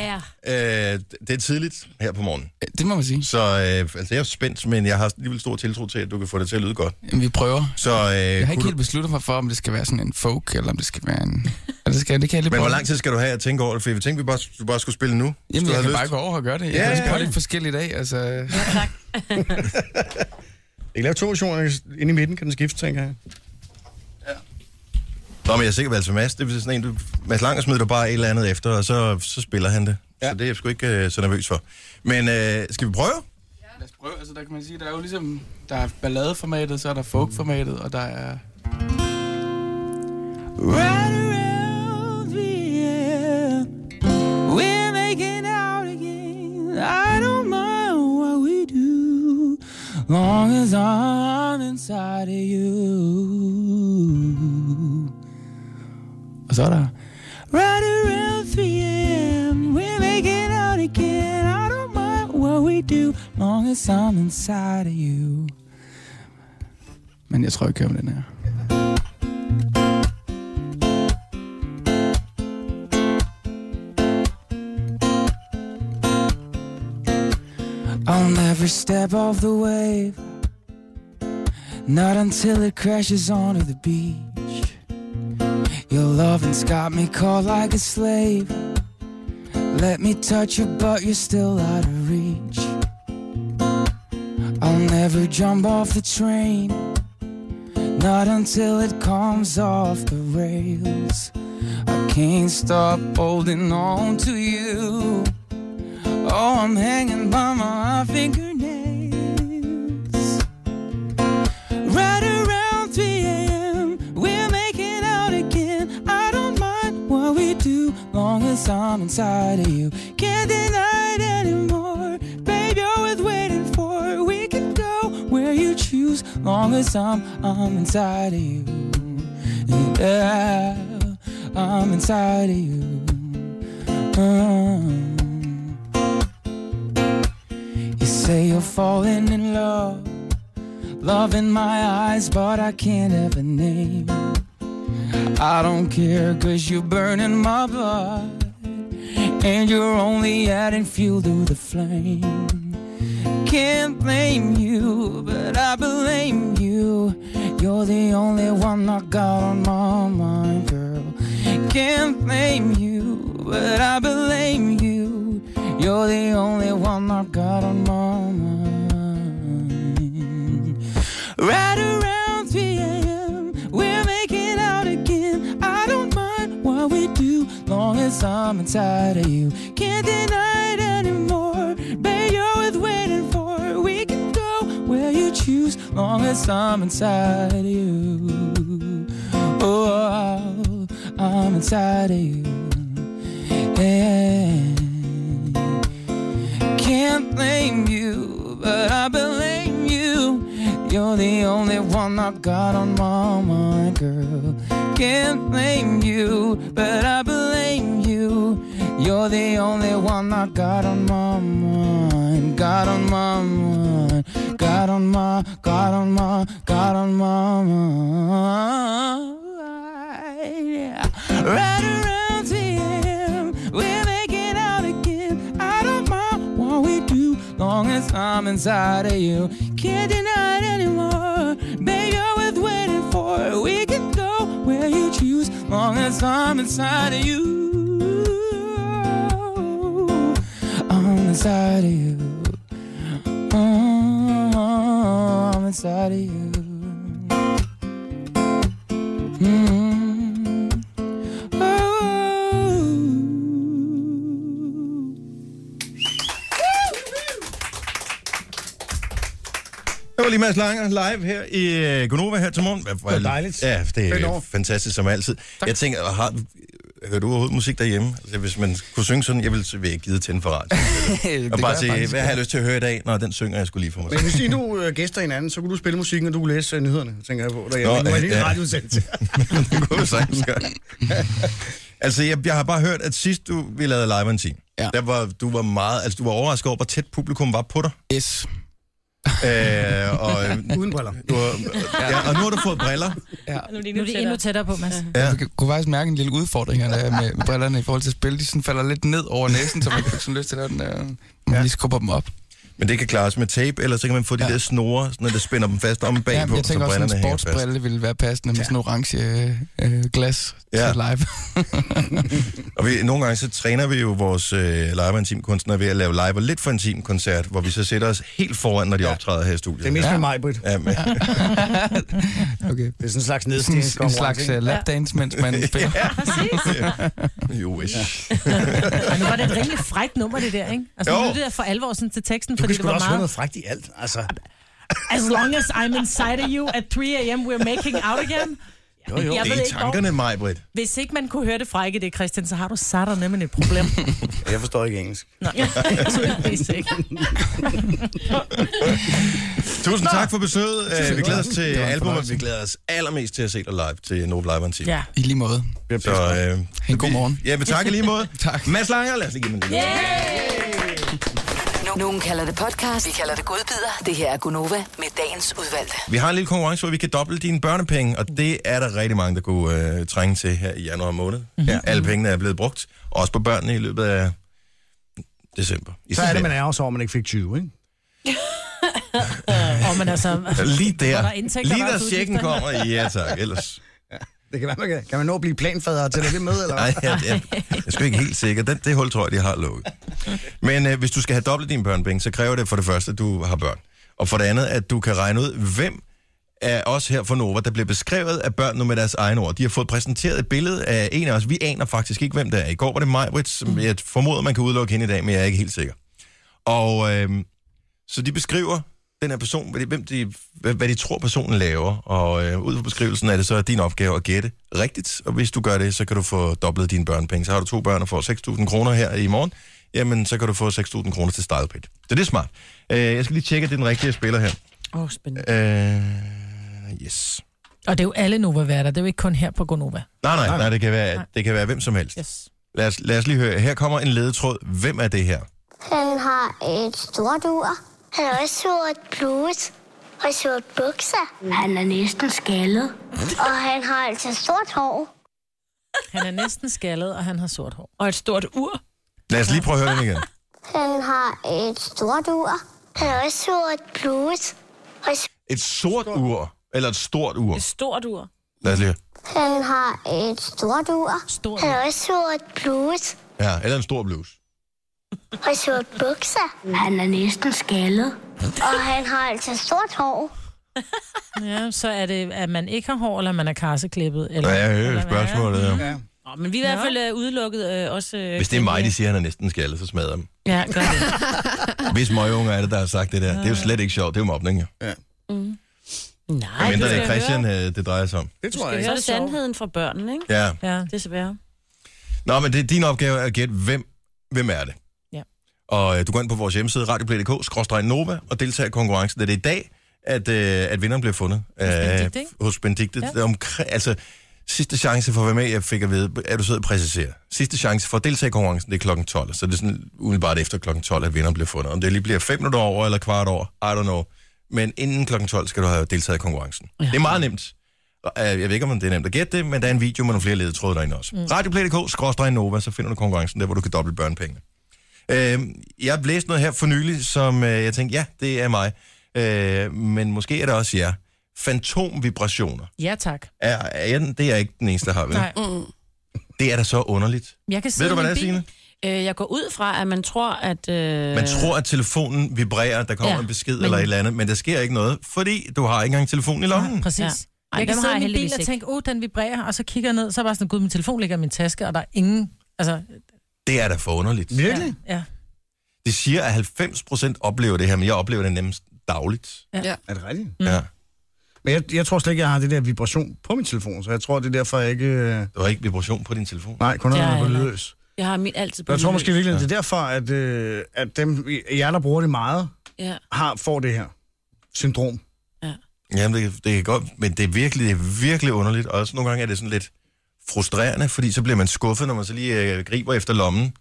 Speaker 5: Ja.
Speaker 1: Øh, det er tidligt her på morgen,
Speaker 7: Det må man sige.
Speaker 1: så øh, altså, jeg er spændt, men jeg har alligevel stor tiltro til, at du kan få det til at lyde godt.
Speaker 7: Vi prøver.
Speaker 1: Så, øh,
Speaker 7: Jeg har ikke
Speaker 1: kunne
Speaker 7: helt besluttet mig for, om det skal være sådan en folk, eller om det skal være en... Eller det, skal, det kan jeg lige
Speaker 1: du, men
Speaker 7: prøve.
Speaker 1: hvor lang tid skal du have at tænke over det? For jeg tænkte, vi bare, du bare skulle spille nu. hvis
Speaker 7: Jamen,
Speaker 1: du
Speaker 7: jeg
Speaker 1: havde
Speaker 7: kan
Speaker 1: lyst.
Speaker 7: bare gå over og gøre det. Jeg
Speaker 1: Ja,
Speaker 7: ja,
Speaker 1: ja,
Speaker 7: kan
Speaker 1: ja.
Speaker 7: ja, lidt forskellige dage, altså...
Speaker 4: Jeg kan lave to versioner inde i midten, kan den skifte, tænker jeg.
Speaker 1: Nå, men jeg er sikker på, altså Mads, det er sådan en, du, Mads Langer smider du bare et eller andet efter, og så, så spiller han det. Ja. Så det er jeg sgu ikke øh, så nervøs for. Men øh, skal vi prøve?
Speaker 7: Lad os prøve, altså der kan man sige, der er jo ligesom, der er balladeformatet, så er der folkformatet, og der er... Right around the end, we're making out again. I don't mind what we do, long as I'm inside of you. Og så er der... Right around 3 a.m. We're making out again. I don't mind what we do, long as I'm inside of you. Men jeg tror, jeg kører med den her. On every step of the wave, not until it crashes onto the beach. You'll
Speaker 8: loving's got me caught like a slave. Let me touch you, but you're still out of reach. I'll never jump off the train, not until it comes off the rails. I can't stop holding on to you. Oh, I'm hanging by my fingernails. Right around 3 a.m., we're making out again. I don't mind what we do, long as I'm inside of you. Can't deny it anymore, babe. You're worth waiting for. We can go where you choose, long as I'm I'm inside of you. Yeah, I'm inside of you. Uh-huh. Mm. You say you're falling in love. Love in my eyes, but I can't ever name. I don't care, cause you're burning my blood. And you're only adding fuel to the flame. Can't blame you, but I blame you. You're the only one I got on my mind, girl. Can't blame you, but I blame you. You're the only one I got on my mind. Right around 3 a.m., we're making out again. I don't mind what we do, long as I'm inside of you. Can't deny it anymore, babe. You're worth waiting for. We can go where you choose, long as I'm inside of you. Oh, I'm inside of you. Yeah. Can't blame you, but I blame you. You're the only one I got on my mind, girl. Can't blame you, but I blame you. You're the only one I got on my mind, got on my mind, got on my, got on my, got on my mind. Yeah. Right around 3 a.m., we're making out again. I don't mind what we do, long as I'm inside of you. Can't deny it anymore, baby. You're worth waiting for. We can go where you choose, long as I'm inside of you. I'm inside of you. Oh, I'm inside of you. Mm. Oh.
Speaker 1: Det var lige Mads Langer live her i øh, Gonova her til morgen. Det var
Speaker 4: dejligt.
Speaker 1: Ja, det
Speaker 4: Fedt
Speaker 1: er
Speaker 4: år.
Speaker 1: fantastisk som altid. Tak. Jeg tænker, har, hører du overhovedet musik derhjemme? Altså, hvis man kunne synge sådan, jeg ville, så ville jeg give det til en forret. Og
Speaker 7: det
Speaker 1: bare
Speaker 7: gør
Speaker 1: sige,
Speaker 7: jeg faktisk.
Speaker 1: hvad har jeg lyst til at høre i dag? Nå, den synger jeg skulle lige for mig.
Speaker 4: Men hvis I nu øh, gæster hinanden, så kunne du spille musikken, og du kunne læse øh, nyhederne, tænker jeg på.
Speaker 1: Nå,
Speaker 4: Derhjemme. Nå, nu er
Speaker 1: øh,
Speaker 4: det
Speaker 1: ja.
Speaker 4: en radioudsendelse.
Speaker 1: det kunne du sagtens gøre. altså, jeg, jeg har bare hørt, at sidst du, vi lavede live en time, ja.
Speaker 7: Ja.
Speaker 1: der var, du var meget, altså, du var overrasket over, hvor tæt publikum var på dig.
Speaker 7: Yes.
Speaker 1: Øh, og, øh,
Speaker 4: Uden briller.
Speaker 1: du, var- ja, og nu har du fået briller.
Speaker 5: Nu er det
Speaker 3: Nu er det endnu tættere på, Mads.
Speaker 1: Ja.
Speaker 7: Jeg kunne faktisk mærke en lille udfordring her der er med, med brillerne i forhold til at spille. De sådan falder lidt ned over næsen, så man fik sådan lyst til at lave den der... Man ja. lige skubber dem op.
Speaker 1: Men det kan klares med tape, eller så kan man få de ja.
Speaker 7: Ja.
Speaker 1: der snore, sådan, at det spænder dem fast om bagpå,
Speaker 7: Jamen, jeg tænker
Speaker 1: så
Speaker 7: også, at
Speaker 1: brillerne
Speaker 7: en
Speaker 1: hænger fast.
Speaker 7: sportsbrille ville være passende med sådan en orange øh, øh, glas
Speaker 1: Ja.
Speaker 7: ja. til live.
Speaker 1: Og vi, nogle gange så træner vi jo vores øh, live og intimkunstnere ved at lave live og lidt for intim koncert, hvor vi så sætter os helt foran, når de ja. optræder her i studiet.
Speaker 4: Det er mest med
Speaker 7: Ja.
Speaker 4: mig, Britt.
Speaker 1: Ja, men,
Speaker 7: Okay.
Speaker 4: Det er sådan en slags
Speaker 7: Sådan en- en
Speaker 4: nedstigningskonkurrence.
Speaker 7: slags
Speaker 4: ikke?
Speaker 7: uh, lapdance, mens man spiller. ja.
Speaker 5: Præcis.
Speaker 1: you wish.
Speaker 3: Men nu var det et rimelig frækt nummer, det der, ikke? Altså,
Speaker 1: Jo.
Speaker 3: nu er det der for alvor sådan til teksten,
Speaker 4: Du
Speaker 3: fordi det
Speaker 4: kan sgu da
Speaker 3: var
Speaker 4: også høre
Speaker 3: meget...
Speaker 4: noget frækt i alt. Altså,
Speaker 3: As long as I'm inside of you at 3 a.m., we're making out again. Jo, jo. Jeg
Speaker 1: Det
Speaker 3: ved
Speaker 1: er i
Speaker 3: ikke, hvor,
Speaker 1: tankerne, mig, Britt.
Speaker 3: hvis ikke man kunne høre det frække det, Christian, så har du satter nemlig et problem.
Speaker 4: jeg forstår ikke engelsk.
Speaker 3: Nej, tydeligvis ikke.
Speaker 1: Tusind tak for besøget. Øh, vi glæder os til
Speaker 7: Det var en
Speaker 1: albumet.
Speaker 7: fornøjelse.
Speaker 1: Vi glæder os allermest til at se dig live til Novo Live Antim.
Speaker 3: Ja.
Speaker 7: I lige måde.
Speaker 1: Så, øh,
Speaker 7: En god morgen.
Speaker 1: ja, men tak i lige måde.
Speaker 7: Tak.
Speaker 1: Mads Langer, lad os lige give mig en lille.
Speaker 6: Nogen kalder det podcast, vi kalder det godbider. Det her er Gunova med dagens udvalgte.
Speaker 1: Vi har en lille konkurrence, hvor vi kan doble dine børnepenge, og det er der rigtig mange, der kunne øh, trænge til her i januar måned.
Speaker 3: Mhm.
Speaker 1: Mm-hmm. Ja, alle pengene er blevet brugt, også på børnene i løbet af december. I
Speaker 4: Så er det, man er også over, at man ikke fik 20, ikke?
Speaker 3: Og men altså,
Speaker 1: Lige
Speaker 3: Hvor der
Speaker 1: der.
Speaker 3: er indtægter,
Speaker 1: Lige
Speaker 3: der er
Speaker 1: der
Speaker 3: også
Speaker 1: checken kommer. Ja tak, ellers.
Speaker 4: Det kan være, man kan. Kan man nå at blive planfader til det med, eller
Speaker 1: Nej, jeg, jeg, jeg er sgu ikke helt sikker. Den, det hul tror jeg, de har lukket. Men øh, hvis du skal have dobbelt dine børnepenge, så kræver det for det første, at du har børn. Og for det andet, at du kan regne ud, hvem af os her for Nova, der bliver beskrevet af børnene med deres egne ord. De har fået præsenteret et billede af en af os. Vi aner faktisk ikke, hvem det er. I går var det Majbrit, som jeg formoder, man kan udelukke hende i dag, men jeg er ikke helt sikker. Og øh, så de beskriver den her person, hvad de, hvem de, hvad, hvad de tror, personen laver. Og øh, ud fra beskrivelsen er det så din opgave at gætte rigtigt. Og hvis du gør det, så kan du få dobblet dine børnepenge. Så har du to børn og får 6.000 kroner her i morgen. Jamen, så kan du få 6.000 kroner til startpit. Så det er smart. Øh, jeg skal lige tjekke, at det er den rigtige spiller her.
Speaker 5: Åh, oh, spændende.
Speaker 1: Øh, yes.
Speaker 3: Og det er jo alle Nova-værter, det er jo ikke kun her på Gonova.
Speaker 1: Nej, nej, nej, det kan være, det kan være hvem som helst.
Speaker 3: Yes.
Speaker 1: Lad os, lad os lige høre. Her kommer en ledetråd. Hvem er det her?
Speaker 9: Han har et stort ur. Han har også sort bluse og sort bukser. Han er næsten skaldet. Og han har altså stort hår.
Speaker 3: Han er næsten skaldet, og han har sort hår.
Speaker 5: Og et stort ur.
Speaker 1: Lad os lige prøve at høre den igen.
Speaker 9: Han har et stort ur. Han har også sort bluse. Og s-
Speaker 1: Et sort ur, eller et stort ur.
Speaker 5: Et stort ur.
Speaker 1: Lad os lige høre.
Speaker 9: han har et stort ur.
Speaker 3: Stort
Speaker 9: Han har også sort bluse
Speaker 1: Ja, eller en stor bluse.
Speaker 9: og sort bukser. Han er næsten skaldet. Og han har altså sort hår.
Speaker 3: Ja, så er det, at man ikke har hår, eller man er karseklippet. Eller,
Speaker 1: Ja, jeg
Speaker 3: eller
Speaker 1: hører
Speaker 3: hvad?
Speaker 1: spørgsmålet. Ja.
Speaker 5: Nå, men vi er i hvert fald øh, udelukket øh, også... Øh,
Speaker 1: Hvis det er mig, de siger, at han er næsten skaldet, så smadrer jeg dem.
Speaker 3: Ja, gør det.
Speaker 1: Hvis møgeunger er det, der har sagt det der, det er jo slet ikke sjovt. Det er jo mobning, jo.
Speaker 5: Mm. Nej,
Speaker 1: Men
Speaker 5: du
Speaker 1: det er
Speaker 5: skal
Speaker 1: Christian, øh, det drejer sig om.
Speaker 4: Det tror jeg
Speaker 5: høre,
Speaker 4: ikke.
Speaker 5: så er det sandheden fra børnene, ikke?
Speaker 1: Ja.
Speaker 3: Ja.
Speaker 5: Desværre.
Speaker 1: Nå, men det er din opgave at gætte, hvem, hvem er det?
Speaker 3: Ja.
Speaker 1: Og øh, du går ind på vores hjemmeside, radioplay.dk, skråstreg Nova, og deltager i konkurrencen. Det er det i dag, at, øh, at vinderen bliver fundet. Hos
Speaker 3: Benedikte, ikke?
Speaker 1: Hos Benedikte. Ja. Omkring, altså, sidste chance for at være med, jeg fik at vide, at du sidder og præciserer. Sidste chance for at deltage i konkurrencen, det er klokken 12. Så det er sådan umiddelbart efter klokken 12, at vinderen bliver fundet. Om det lige bliver 5 minutter over eller kvart over, I don't know. Men inden klokken 12 skal du have deltaget i konkurrencen. Ja. Det er meget nemt. Og, øh, Jeg ved ikke, om det er nemt at gætte det, men der er en video med nogle flere ledetråde derinde også. Mm. Radioplay.dk, skråstrej Nova, så finder du konkurrencen der, hvor du kan doble børnepengene. Øh, jeg læste noget her for nylig, som øh, jeg tænkte, ja, det er mig. Øh, men måske er det også jer. Fantomvibrationer.
Speaker 3: ja, tak.
Speaker 1: Er, er jeg, den- det er jeg ikke den eneste, der har, vel?
Speaker 3: Nej.
Speaker 1: Det er da så underligt.
Speaker 3: Jeg kan
Speaker 1: Ved
Speaker 3: sidde
Speaker 1: du,
Speaker 3: i
Speaker 1: hvad det
Speaker 3: min
Speaker 1: er,
Speaker 3: bil.
Speaker 1: Signe?
Speaker 5: Øh, jeg går ud fra, at man tror, at... Øh,
Speaker 1: Man tror, at telefonen vibrerer, der kommer ja,
Speaker 5: Ja,
Speaker 1: en besked
Speaker 5: men-
Speaker 1: eller et eller andet, men der sker ikke noget, fordi du har ikke engang telefonen i lommen.
Speaker 3: Nej, præcis.
Speaker 5: Ja.
Speaker 3: Ej,
Speaker 5: Ej,
Speaker 3: jeg kan
Speaker 5: dem har
Speaker 3: sidde
Speaker 5: jeg
Speaker 3: i min bil
Speaker 5: heldigvis
Speaker 3: og
Speaker 5: ikke.
Speaker 3: tænke, åh, oh, den vibrerer, og så kigger jeg ned, så er jeg bare sådan, gud, min telefon ligger i min taske, og der er ingen... Altså,
Speaker 1: Det er da for underligt.
Speaker 4: Virkelig?
Speaker 3: ja.
Speaker 1: De siger, at 90% oplever det her, men jeg oplever det nemmest dagligt.
Speaker 4: Er det rigtigt?
Speaker 1: Mm. Ja.
Speaker 4: Men jeg, jeg tror slet ikke, jeg har det der vibration på min telefon, så jeg tror, det er derfor, jeg ikke... øh,
Speaker 1: Der var ikke vibration på din telefon.
Speaker 4: Nej, kun
Speaker 5: Det har
Speaker 4: er
Speaker 5: jeg
Speaker 4: på
Speaker 5: heller
Speaker 4: løs.
Speaker 5: Jeg har min altid på
Speaker 4: Jeg tror
Speaker 5: lydløs.
Speaker 4: måske virkelig, det er derfor, at, øh, at dem, jer, der bruger det meget,
Speaker 5: Ja.
Speaker 4: har, får det her syndrom.
Speaker 1: Jamen, det, det kan godt, men det er virkelig, det er virkelig underligt. Også nogle gange er det sådan lidt frustrerende, fordi så bliver man skuffet, når man så lige øh, griber efter lommen,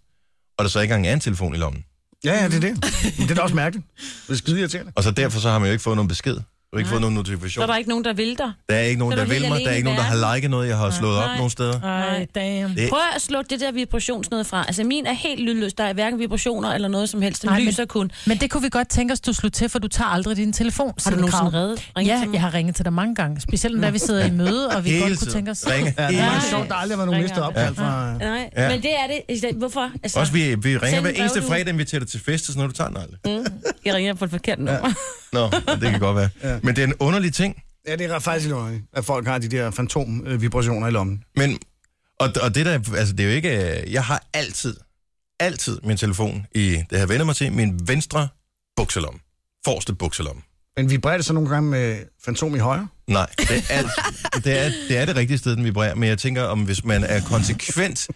Speaker 1: og der så ikke engang er en telefon i lommen.
Speaker 4: Ja, ja, det er det. Men det er da også mærkeligt. Det er skide irriterende.
Speaker 1: Og så derfor så har man jo ikke fået nogen besked. Du har ikke fået nogen
Speaker 5: Så er
Speaker 1: notifikation.
Speaker 5: der
Speaker 1: Der,
Speaker 5: ikke nogen, der vil dig.
Speaker 1: der er ikke nogen,
Speaker 5: så
Speaker 1: der
Speaker 5: er du
Speaker 1: vil
Speaker 5: helt
Speaker 1: mig.
Speaker 5: alene
Speaker 1: Der er ikke
Speaker 5: i
Speaker 1: nogen, der har liket noget, jeg har slået op
Speaker 5: Nej.
Speaker 1: nogen steder.
Speaker 3: Ej,
Speaker 5: Nej.
Speaker 3: damn.
Speaker 1: Det-
Speaker 5: Prøv at slukke det der vibrationsnød fra. Altså, min er helt lydløs. Der er hverken vibrationer eller noget som helst. Den
Speaker 3: Nej, men-
Speaker 5: lyser kun.
Speaker 3: Men det kunne vi godt tænke os, du slog til, for du tager aldrig din telefon.
Speaker 5: Har du
Speaker 3: Signe Krag.
Speaker 5: nogensinde reddet? Ringet
Speaker 3: Ja,
Speaker 5: til mig?
Speaker 3: jeg har ringet til dig mange gange. Specielt da vi sidder i møde, og vi
Speaker 1: Hele
Speaker 3: godt kunne
Speaker 1: tiden.
Speaker 3: tænke os...
Speaker 1: Ringe.
Speaker 4: Ja, det er meget
Speaker 5: Nej.
Speaker 4: sjovt, der aldrig har været nogen mistet opkald fra...
Speaker 5: Nej,
Speaker 1: Ja.
Speaker 5: ja. men det er det. I stedet- Hvorfor? Altså,
Speaker 1: Også vi, vi ringer
Speaker 5: Send
Speaker 1: hver
Speaker 5: en
Speaker 1: eneste
Speaker 5: brevdue.
Speaker 1: fredag, inviterer dig til fest, og sådan noget, du tager den aldrig.
Speaker 5: Jeg ringer på et forkert nummer. Ja.
Speaker 1: Nå, det kan godt være.
Speaker 4: Ja.
Speaker 1: Men det er en underlig ting.
Speaker 4: Ja, det er faktisk lidt underligt, at folk har de der fantomvibrationer i lommen.
Speaker 1: Men, og, og det der, altså det er jo ikke, øh, jeg har altid, altid min telefon i, det har jeg vendt mig til, min venstre bukselom. Forreste bukselom.
Speaker 4: Men vibrerer det så nogle gange med fantom i højre?
Speaker 1: Nej, det er, det, er, det er det rigtige sted, den vibrerer, men jeg tænker, om hvis man er konsekvent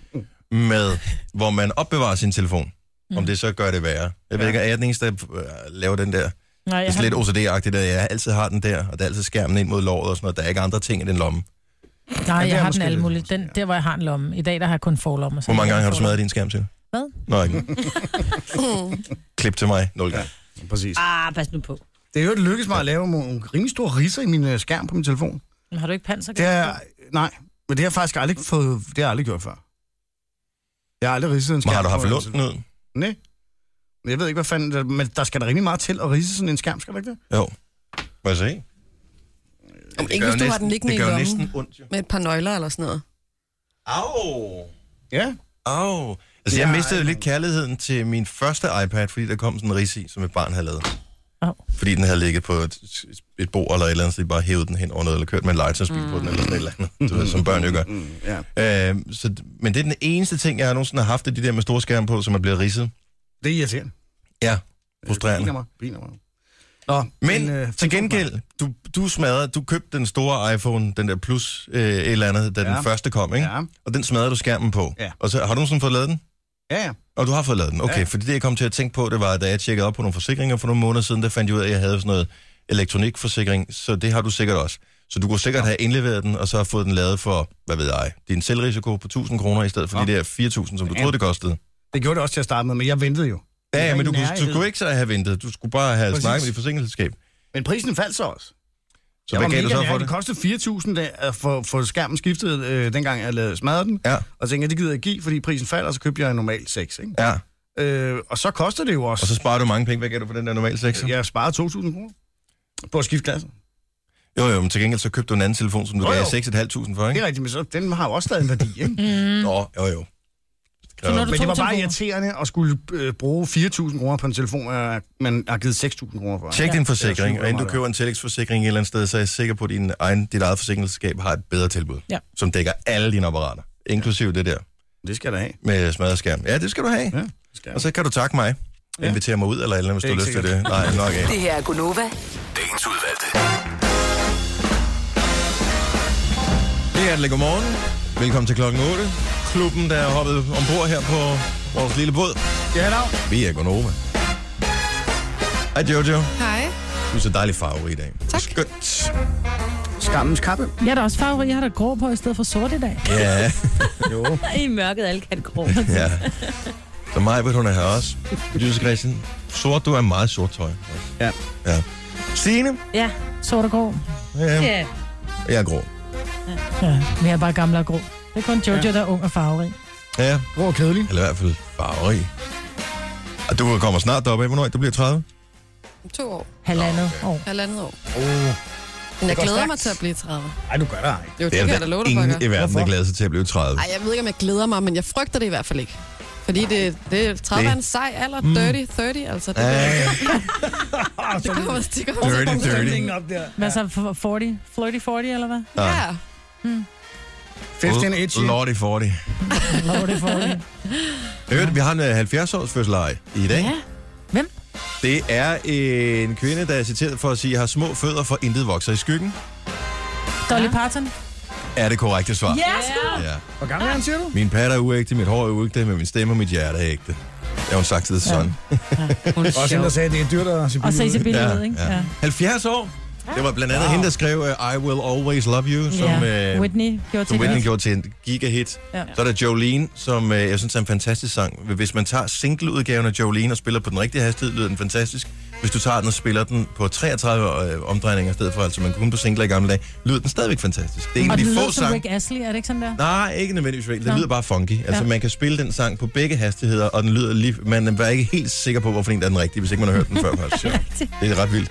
Speaker 1: med, hvor man opbevarer sin telefon,
Speaker 3: Mm.
Speaker 1: om det så gør det værre. Jeg ved ikke, er jeg den eneste, der øh, laver den der?
Speaker 3: Nej,
Speaker 1: Det
Speaker 3: jeg
Speaker 1: er sådan
Speaker 3: har...
Speaker 1: lidt OCD-agtigt, at jeg altid har den der, og der er altid skærmen ind mod låret og sådan noget. Der er ikke andre ting i den lomme.
Speaker 3: Nej,
Speaker 4: det er
Speaker 3: jeg har
Speaker 4: måske
Speaker 3: den alle
Speaker 4: lidt-
Speaker 3: mulige. Den, der, hvor jeg har en lomme. I dag, der har jeg kun forlommer. så
Speaker 1: Hvor mange gange
Speaker 3: jeg
Speaker 1: har du
Speaker 3: en forlomme.
Speaker 1: smadret din skærm til?
Speaker 3: Hvad?
Speaker 1: Nå, ikke.
Speaker 2: Mm.
Speaker 1: Klip til mig. Nul gange.
Speaker 4: Præcis.
Speaker 5: Ah, pas nu på.
Speaker 4: Det er jo lykkedes mig at lave nogle rimelig store ridser i min øh, skærm på min telefon.
Speaker 3: Men Har du ikke panser?
Speaker 4: Det er, nej, men det har jeg faktisk aldrig fået, det har jeg aldrig gjort før. Jeg har aldrig ridset en skærm.
Speaker 1: Men har du haft
Speaker 4: på-
Speaker 1: lunden ud?
Speaker 4: Nej. Men jeg ved ikke, hvad fanden... der- Men der skal da rimelig meget til at rise sådan en skærm, skal der ikke det?
Speaker 1: Jo. Må jeg se?
Speaker 2: Om
Speaker 1: gør
Speaker 2: ikke, hvis
Speaker 1: jo
Speaker 2: du har
Speaker 1: næsten-
Speaker 2: den liggende
Speaker 1: det
Speaker 2: i
Speaker 1: gør jo
Speaker 2: lommen.
Speaker 1: næsten ondt, jo.
Speaker 2: Med et par nøgler eller sådan noget.
Speaker 1: Au!
Speaker 4: Ja.
Speaker 1: Au! Altså, jeg mistede jo lidt kærligheden til min første iPad, fordi der kom sådan en ris i, som et barn havde lavet.
Speaker 3: Au.
Speaker 1: Fordi den havde ligget på et, et bord eller et eller andet, så de bare hævede den hen over noget, eller kørt med en legetøjsbil mm. på den, eller sådan et eller andet, du ved, som børn jo gør.
Speaker 4: Mm, Ja.
Speaker 1: Øh, så, men det er den eneste ting, jeg har nogensinde har haft, det er de der med store skærm på, som er blevet ridset.
Speaker 4: Det er irriterende.
Speaker 1: Ja,
Speaker 4: Piner
Speaker 1: frustrerende.
Speaker 4: mig. Piner mig. Nå,
Speaker 1: Men
Speaker 4: øh,
Speaker 1: øh, til gengæld, du, du smadrede, du købte den store iPhone, den der Plus øh, et eller andet, da ja.
Speaker 4: Ja.
Speaker 1: den første kom, ikke? Ja.
Speaker 4: Ja,
Speaker 1: Og den smadrede du skærmen på.
Speaker 4: Ja.
Speaker 1: Og så, har du nogensinde fået lavet den?
Speaker 4: ja, ja.
Speaker 1: Og du har fået lavet den, okay.
Speaker 4: Ja.
Speaker 1: Ja. Fordi det, jeg kom til at tænke på, det var, da jeg tjekkede op på nogle forsikringer for nogle måneder siden, der fandt jeg ud af, at jeg havde sådan noget elektronikforsikring, så det har du sikkert også. Så du kunne sikkert have indleveret den, og så have fået den lavet for, hvad ved jeg, din selvrisiko på 1000 kroner, i stedet for
Speaker 4: Nå.
Speaker 1: ja. de der 4000, som du
Speaker 4: Ja.
Speaker 1: troede, det kostede.
Speaker 4: Det gjorde det også til at starte med, men jeg ventede jo.
Speaker 1: Ja, ja
Speaker 4: var
Speaker 1: men
Speaker 4: i
Speaker 1: du kunne,
Speaker 4: nærheden.
Speaker 1: du kunne ikke så have ventet. Du skulle bare have
Speaker 4: Præcis.
Speaker 1: Præcis. snakket med dit forsikringsselskab.
Speaker 4: Men prisen faldt så også.
Speaker 1: Så
Speaker 4: Jeg
Speaker 1: hvad
Speaker 4: var
Speaker 1: gav du
Speaker 4: mega
Speaker 1: så
Speaker 4: nær.
Speaker 1: for det?
Speaker 4: Det kostede 4.000 da- at få, få skærmen skiftet, øh, dengang jeg lavede smadret den.
Speaker 1: Ja.
Speaker 4: Og tænkte, jeg, det gider jeg ikke give, fordi prisen falder, og så købte jeg en normal 6. Ikke?
Speaker 1: Ja,
Speaker 4: Øh, og så koster det jo også.
Speaker 1: og så sparer du mange penge. Hvad gav du for den der normal sekser?
Speaker 4: Jeg sparede 2.000 kroner på at skifte klasse.
Speaker 1: Jo, jo, men til gengæld så købte du en anden telefon, som du
Speaker 4: Jo,
Speaker 1: gav
Speaker 4: jo.
Speaker 1: 6.500 for,
Speaker 4: Det
Speaker 1: ikke?
Speaker 4: er rigtigt, men så, den har jo også stadig en værdi. Ikke?
Speaker 1: Nå, jo, jo.
Speaker 3: Så når du
Speaker 4: men det
Speaker 3: to
Speaker 4: var bare
Speaker 3: telefoner.
Speaker 4: irriterende at skulle øh, bruge 4.000 kroner på en telefon, øh, man har givet 6.000 kroner for.
Speaker 1: Tjek din forsikring,
Speaker 4: Ja,
Speaker 1: og inden du
Speaker 4: meget
Speaker 1: køber en tillægsforsikring et eller andet sted, så er jeg sikker på, at din egen, dit eget forsikringsselskab har et bedre tilbud,
Speaker 3: Ja.
Speaker 1: som dækker alle dine apparater, inklusive det der
Speaker 4: Det skal jeg da have.
Speaker 1: med smadret skærm. Ja, det skal du have.
Speaker 4: Ja, det skal jeg.
Speaker 1: Og så kan du takke mig.
Speaker 4: Ja.
Speaker 1: Invitere mig ud eller et eller andet, hvis
Speaker 4: Det
Speaker 1: du
Speaker 4: er
Speaker 1: har lyst
Speaker 4: ikke
Speaker 1: til det. Nej, nok ikke.
Speaker 6: Det her er Gunova.
Speaker 1: Det er det. Godmorgen. Velkommen til klokken 8. Klubben, der er hoppet ombord her på vores lille båd.
Speaker 4: Ja, hello.
Speaker 1: Vi er Gonova. Hej Jojo.
Speaker 2: Hej.
Speaker 1: Du er så dejlig farve i dag.
Speaker 2: Tak.
Speaker 1: Skønt.
Speaker 4: Skammens kappe.
Speaker 3: Jeg er da også farverig. Jeg har da grå på i stedet for sort i dag.
Speaker 1: Ja,
Speaker 4: Jo.
Speaker 5: I mørket alle kategorier.
Speaker 1: ja. Så Majbert, hun er her også. Producer Christian, sort, du er meget sort tøj.
Speaker 4: Ja.
Speaker 1: Ja. Signe,
Speaker 5: Ja.
Speaker 3: Sort og grå.
Speaker 1: ja,
Speaker 5: ja.
Speaker 1: jeg er grå.
Speaker 3: Ja, men jeg er bare gammel og grå. Det er kun Jojo, der er ung og farverig.
Speaker 1: Ja,
Speaker 4: Grå og kedelig.
Speaker 1: eller i hvert fald farverig. Og du kommer snart deroppe af, hvornår er det? du bliver 30?
Speaker 2: Om to år.
Speaker 3: Halvandet år.
Speaker 2: Halvandet år.
Speaker 4: Oh.
Speaker 2: Men jeg
Speaker 4: går
Speaker 2: glæder
Speaker 4: stærkt.
Speaker 2: mig til at blive 30.
Speaker 4: Ej, du gør det ej.
Speaker 2: Jo, det, kan jeg da love dig, for, jeg
Speaker 1: ingen
Speaker 2: gør.
Speaker 1: i verden, der
Speaker 4: Hvorfor?
Speaker 1: glæder sig til at blive 30.
Speaker 2: Ej, jeg ved ikke, om jeg glæder mig, men jeg frygter det i hvert fald ikke. Fordi det, det 30 er en sej alder. Dirty 30, altså. Det,
Speaker 1: Ej,
Speaker 2: det,
Speaker 4: Ah,
Speaker 2: det kommer, det kommer
Speaker 1: dirty, dirty.
Speaker 4: op der.
Speaker 3: Hvad så? f- 40? Flirty 40, eller hvad?
Speaker 2: Ja,
Speaker 4: 15 itchy.
Speaker 1: Lordy 40.
Speaker 3: Flirty 40.
Speaker 1: Hørte, vi har en 70-års fødselaj i dag.
Speaker 3: Ja. Hvem?
Speaker 1: Det er en kvinde, der er citeret for at sige, at har små fødder, for intet vokser i skyggen.
Speaker 3: Dolly Parton?
Speaker 1: Er det korrekte svar?
Speaker 3: Ja, sgu!
Speaker 1: ja.
Speaker 4: Hvor gammel er han, siger du?
Speaker 1: Min pat er uægte, mit hår er uægte, men min stemme og mit hjerte er ægte. Jeg har hun sagt til det sådan.
Speaker 4: Også hende, der sagde, at det er dyrt at se
Speaker 3: Og så
Speaker 4: billigt ud.
Speaker 3: Isabel
Speaker 1: Ja,
Speaker 3: ud, ikke?
Speaker 1: ja. 70 år. Det var blandt andet hende, der skrev uh, I Will Always Love You, som,
Speaker 3: ja.
Speaker 1: yeah. uh,
Speaker 3: Whitney gjorde til
Speaker 1: som Whitney
Speaker 3: det.
Speaker 1: gjorde til en gigahit.
Speaker 3: Ja.
Speaker 1: Så er der Jolene, som uh, jeg synes er en fantastisk sang. Hvis man tager singleudgaven af Jolene og spiller på den rigtige hastighed, lyder den fantastisk. Hvis du tager den og spiller den på 33 øh, omdrejninger i stedet for, altså man kunne på singler i gamle dage, lyder den stadigvæk fantastisk. Det er en
Speaker 3: Og
Speaker 1: af
Speaker 3: den
Speaker 1: de
Speaker 3: lød
Speaker 1: få
Speaker 3: som
Speaker 1: sange.
Speaker 3: Rick Astley, er det ikke sådan der?
Speaker 1: Nej, ikke nødvendigvis Rachel. Den
Speaker 3: Nå.
Speaker 1: lyder bare funky. Altså,
Speaker 3: Ja.
Speaker 1: ja. man kan spille den sang på begge hastigheder, og den lyder lige... Man er ikke helt sikker på, hvorfor en der er den rigtige, hvis ikke man har hørt den før. Faktisk. Ja. Det er ret vildt.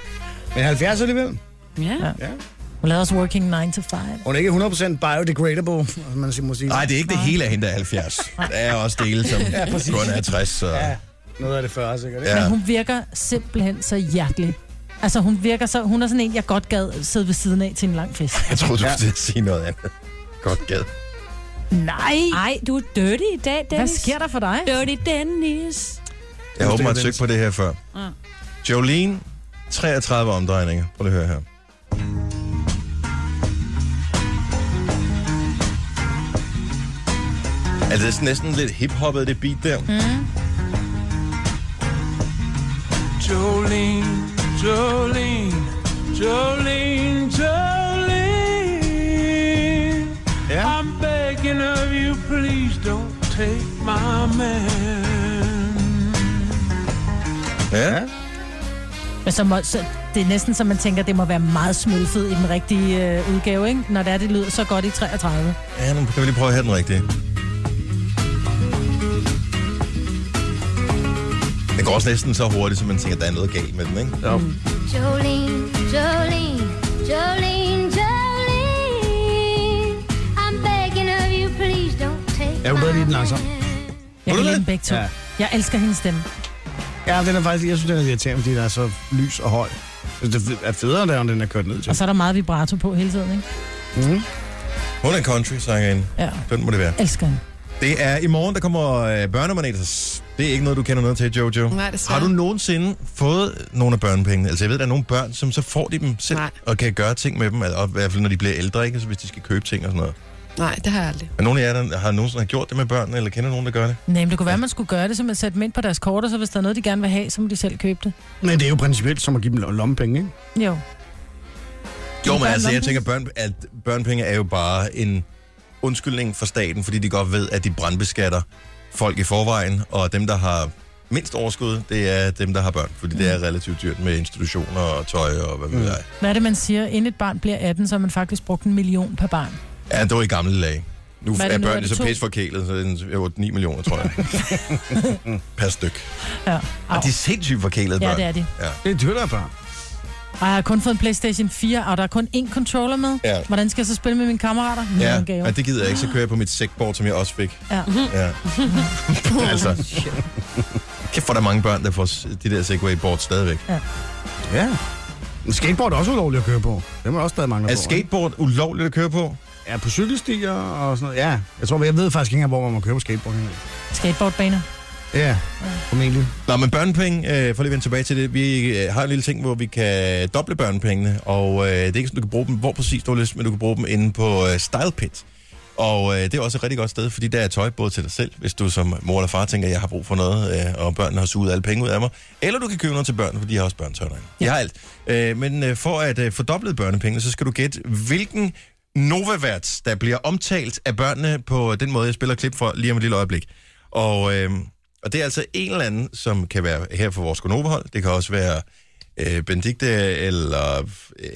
Speaker 4: Men 70 alligevel.
Speaker 5: ja.
Speaker 3: Hun lavede også Working 9 to 5.
Speaker 4: Hun er ikke 100% biodegradable, som man må sige.
Speaker 1: Nej, det er ikke det hele af hende, der er 70. Der er også dele, som ja,
Speaker 4: præcis.
Speaker 1: kun er 60. Så... Ja.
Speaker 4: Ja, noget af det 40, sikkert. ikke?
Speaker 3: Men
Speaker 1: Ja.
Speaker 3: hun virker simpelthen så hjertelig. Altså, hun virker så... Hun er sådan en, jeg godt gad sidde ved siden af til en lang fest.
Speaker 1: Jeg troede, du ja. skulle til at sige noget andet. Godt gad.
Speaker 3: Nej!
Speaker 5: Ej, du er dirty i dag,
Speaker 3: Hvad
Speaker 5: Dennis.
Speaker 3: sker der for dig?
Speaker 5: Dirty Dennis.
Speaker 1: Jeg
Speaker 4: Det
Speaker 1: håber,
Speaker 4: er
Speaker 1: man har
Speaker 4: det,
Speaker 1: søgt på det her før. Jolene, 33 omdrejninger. Prøv lige at høre her. Altså, det er sådan næsten lidt hiphoppet, det beat der.
Speaker 8: Jolene, Jolene, Jolene, Jolene.
Speaker 4: Ja.
Speaker 8: I'm begging of you, please don't take my man.
Speaker 1: Ja.
Speaker 3: Men så må, så, det er næsten, som man tænker, det må være meget smølfed i den rigtige øh, udgave, ikke? Når det er, det lyder så godt i 33.
Speaker 1: Ja, nu kan vi lige prøve at have den rigtige. Det går også næsten så hurtigt, så man tænker, at der er noget galt med den, ikke?
Speaker 9: Jolene, Jolene, Jolene, Jolene.
Speaker 4: Jeg kunne bedre lide den langsom.
Speaker 3: Jeg
Speaker 4: Vil du
Speaker 3: kan lide
Speaker 4: det?
Speaker 3: dem begge to.
Speaker 4: Ja.
Speaker 3: Ja. Jeg elsker hendes stemme.
Speaker 4: Ja, den er faktisk, jeg synes, den er irriterende, fordi den er så lys og høj. Altså, Det er federe, der, end den er kørt ned til.
Speaker 3: Og så er der meget vibrato på hele tiden, ikke?
Speaker 4: Altså, Mm.
Speaker 1: Hun er country sangerinde.
Speaker 3: Ja.
Speaker 1: Den må det være.
Speaker 3: Elsker hende.
Speaker 1: Det er i morgen, der kommer øh, børnemaneters. Det er ikke noget, du kender noget til, Jojo.
Speaker 2: Nej, desværre.
Speaker 1: Har du nogensinde fået nogle af børnepengene? Altså, jeg ved, der er nogle børn, som så får de dem selv,
Speaker 2: Nej.
Speaker 1: og kan gøre ting med dem, og i hvert fald, når de bliver ældre, ikke? Altså, hvis de skal købe ting og sådan noget.
Speaker 2: Nej, det har jeg aldrig.
Speaker 1: Men nogle af jer, der har nogensinde har gjort det med børn, eller kender nogen, der gør det?
Speaker 3: Nej, men det kunne være, at man skulle gøre det, så man satte dem ind på deres kort, og så hvis der er noget, de gerne vil have, så må de selv købe det.
Speaker 4: Men det er jo principielt som at give dem lommepenge, ikke?
Speaker 3: Jo.
Speaker 1: Jo, men
Speaker 3: børn
Speaker 1: altså, jeg
Speaker 3: lommepenge.
Speaker 1: tænker, børn, at børnepenge er jo bare en undskyldning for staten, fordi de godt ved, at de brandbeskatter folk i forvejen, og dem, der har mindst overskud, det er dem, der har børn, fordi det
Speaker 3: Mm.
Speaker 1: er relativt dyrt med institutioner og tøj og hvad ved jeg.
Speaker 3: Hvad er det, man siger? Inden et barn bliver 18, så har man faktisk brugt en million per barn.
Speaker 1: Ja, det var i gamle dage. Nu
Speaker 3: Hvad
Speaker 1: er,
Speaker 3: er det nu? Er
Speaker 1: børnene så
Speaker 3: det to?
Speaker 1: pisse forkælet, så det er 9 millioner, tror jeg. per styk.
Speaker 3: Ja.
Speaker 1: Og
Speaker 3: Au.
Speaker 1: de er sindssygt forkælede
Speaker 3: Ja,
Speaker 1: børn.
Speaker 3: det er de.
Speaker 1: Ja.
Speaker 4: Det er dyrere bare.
Speaker 3: Og jeg har kun fået en Playstation 4, og der er kun én controller med.
Speaker 1: Ja.
Speaker 3: Hvordan skal jeg så spille med mine kammerater? Nå,
Speaker 1: Ja,
Speaker 3: okay, jo.
Speaker 1: og det gider jeg ikke, så kører jeg på mit sækbord, som jeg også fik.
Speaker 3: Ja.
Speaker 1: Ja. altså, kæft for der er mange børn, der får s- de der Segway-board stadigvæk.
Speaker 4: Ja. Men skateboard er også ulovligt at køre på. Det må jeg også stadig mangle
Speaker 1: Er
Speaker 4: på. ikke?
Speaker 1: skateboard ulovligt at køre på?
Speaker 4: Ja, på cykelstier og sådan noget. Ja, jeg tror, jeg ved faktisk ikke engang, hvor man må køre på skateboard. henne.
Speaker 3: Skateboardbaner.
Speaker 4: Ja, formentlig.
Speaker 1: Nå, men børnepenge, øh, for lige at vende tilbage til det, vi øh, har en lille ting, hvor vi kan doble børnepengene, og øh, det er ikke sådan, du kan bruge dem, hvor præcis du har lyst, men du kan bruge dem inde på øh, Stylepit. Og øh, det er også et rigtig godt sted, fordi der er tøj både til dig selv, hvis du som mor eller far tænker, jeg har brug for noget, øh, og børnene har suget alle penge ud af mig. Eller du kan købe noget til børnene, fordi de har også børnetøj derinde. Ja. Jeg har alt. Øh, men øh, for at øh, fordoble børnepengene, så skal du gætte, hvilken Novaværts, der bliver omtalt af børnene på den måde, jeg spiller klip for lige om et lille øjeblik. Og, øh, og det er altså en eller anden, som kan være her for vores Gonova-hold. Det kan også være øh, Benedikte, eller øh,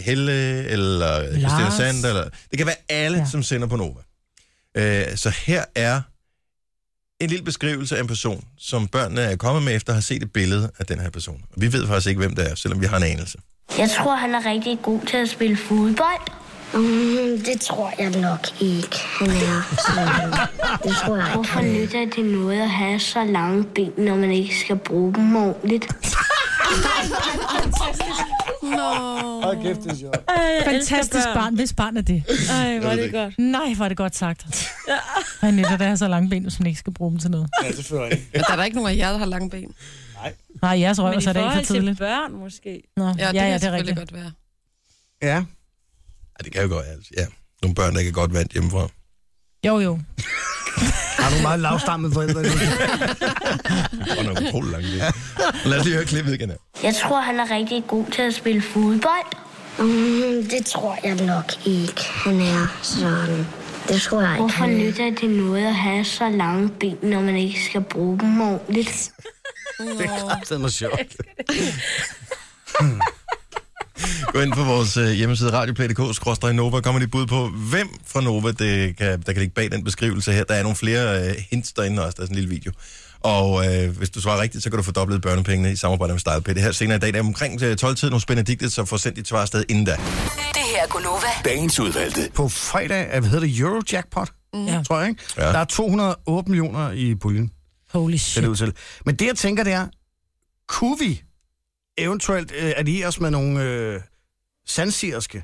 Speaker 1: Helle, eller Christina Sand, eller... Det kan være alle, ja.
Speaker 3: Ja.
Speaker 1: som sender på Nova. Øh, så her er en lille beskrivelse af en person, som børnene er kommet med efter at have set et billede af den her person. Og vi ved faktisk ikke, hvem det er, selvom vi har en anelse.
Speaker 9: Jeg tror, han er rigtig god til at spille fodbold. Mm, det tror jeg nok ikke, han er. det tror jeg Hvorfor nytter det noget at have så lange ben, når man ikke skal bruge dem ordentligt?
Speaker 2: Nå.
Speaker 4: Hold kæft, det er sjovt.
Speaker 3: Fantastisk barn, hvis barn er det.
Speaker 5: Ej, hvor er det godt.
Speaker 3: Nej, hvor er det godt sagt. Hvad nytter det at have så lange ben, hvis man ikke skal bruge dem til noget?
Speaker 4: Ja, selvfølgelig.
Speaker 2: Men der er der ikke nogen af jer, der har lange ben.
Speaker 3: Nej, jeres røv
Speaker 5: Men
Speaker 3: er
Speaker 5: i
Speaker 3: så er det ikke
Speaker 5: forhold
Speaker 3: for
Speaker 5: til
Speaker 3: tidligt.
Speaker 5: børn, måske.
Speaker 3: Nå,
Speaker 2: Ja, det, ja, ja, det kan selvfølgelig godt være.
Speaker 4: Ja.
Speaker 1: Ja, det kan jo godt, altså. ja. Nogle børn, der kan godt vand hjemmefra.
Speaker 3: Jo, jo.
Speaker 4: Har du meget lavstammede forældre?
Speaker 1: Og nogle utrolig lange ben. Lad os lige høre klippet igen her.
Speaker 9: Jeg tror, han er rigtig god til at spille fodbold. Mm, det tror jeg nok ikke, han er sådan. Det tror jeg ikke, Hvorfor nytter det noget at have så lange ben, når man ikke skal bruge dem ordentligt?
Speaker 4: Det er sjovt.
Speaker 1: Gå ind på vores øh, hjemmeside radioplay.dk, Nova, kommer de bud på, hvem fra Nova, det kan, der kan ligge bag den beskrivelse her. Der er nogle flere øh, hints derinde også, der er sådan en lille video. Og øh, hvis du svarer rigtigt, så kan du få dobbelt børnepengene i samarbejde med StylePay. Det her senere i dag, der er omkring øh, 12-tiden hos Benedikte, så får sendt dit svar afsted inden da.
Speaker 6: Det her er Gunova.
Speaker 10: Dagens udvalgte.
Speaker 4: På fredag, er- hvad hedder det, Eurojackpot?
Speaker 3: Ja.
Speaker 4: Tror jeg, ikke?
Speaker 1: Ja.
Speaker 4: Der er 208 millioner i puljen.
Speaker 3: Holy
Speaker 4: ser
Speaker 3: shit.
Speaker 4: det ud til. Men det, jeg tænker, det er, kunne vi eventuelt øh, alliere os med nogle øh, sandsirske?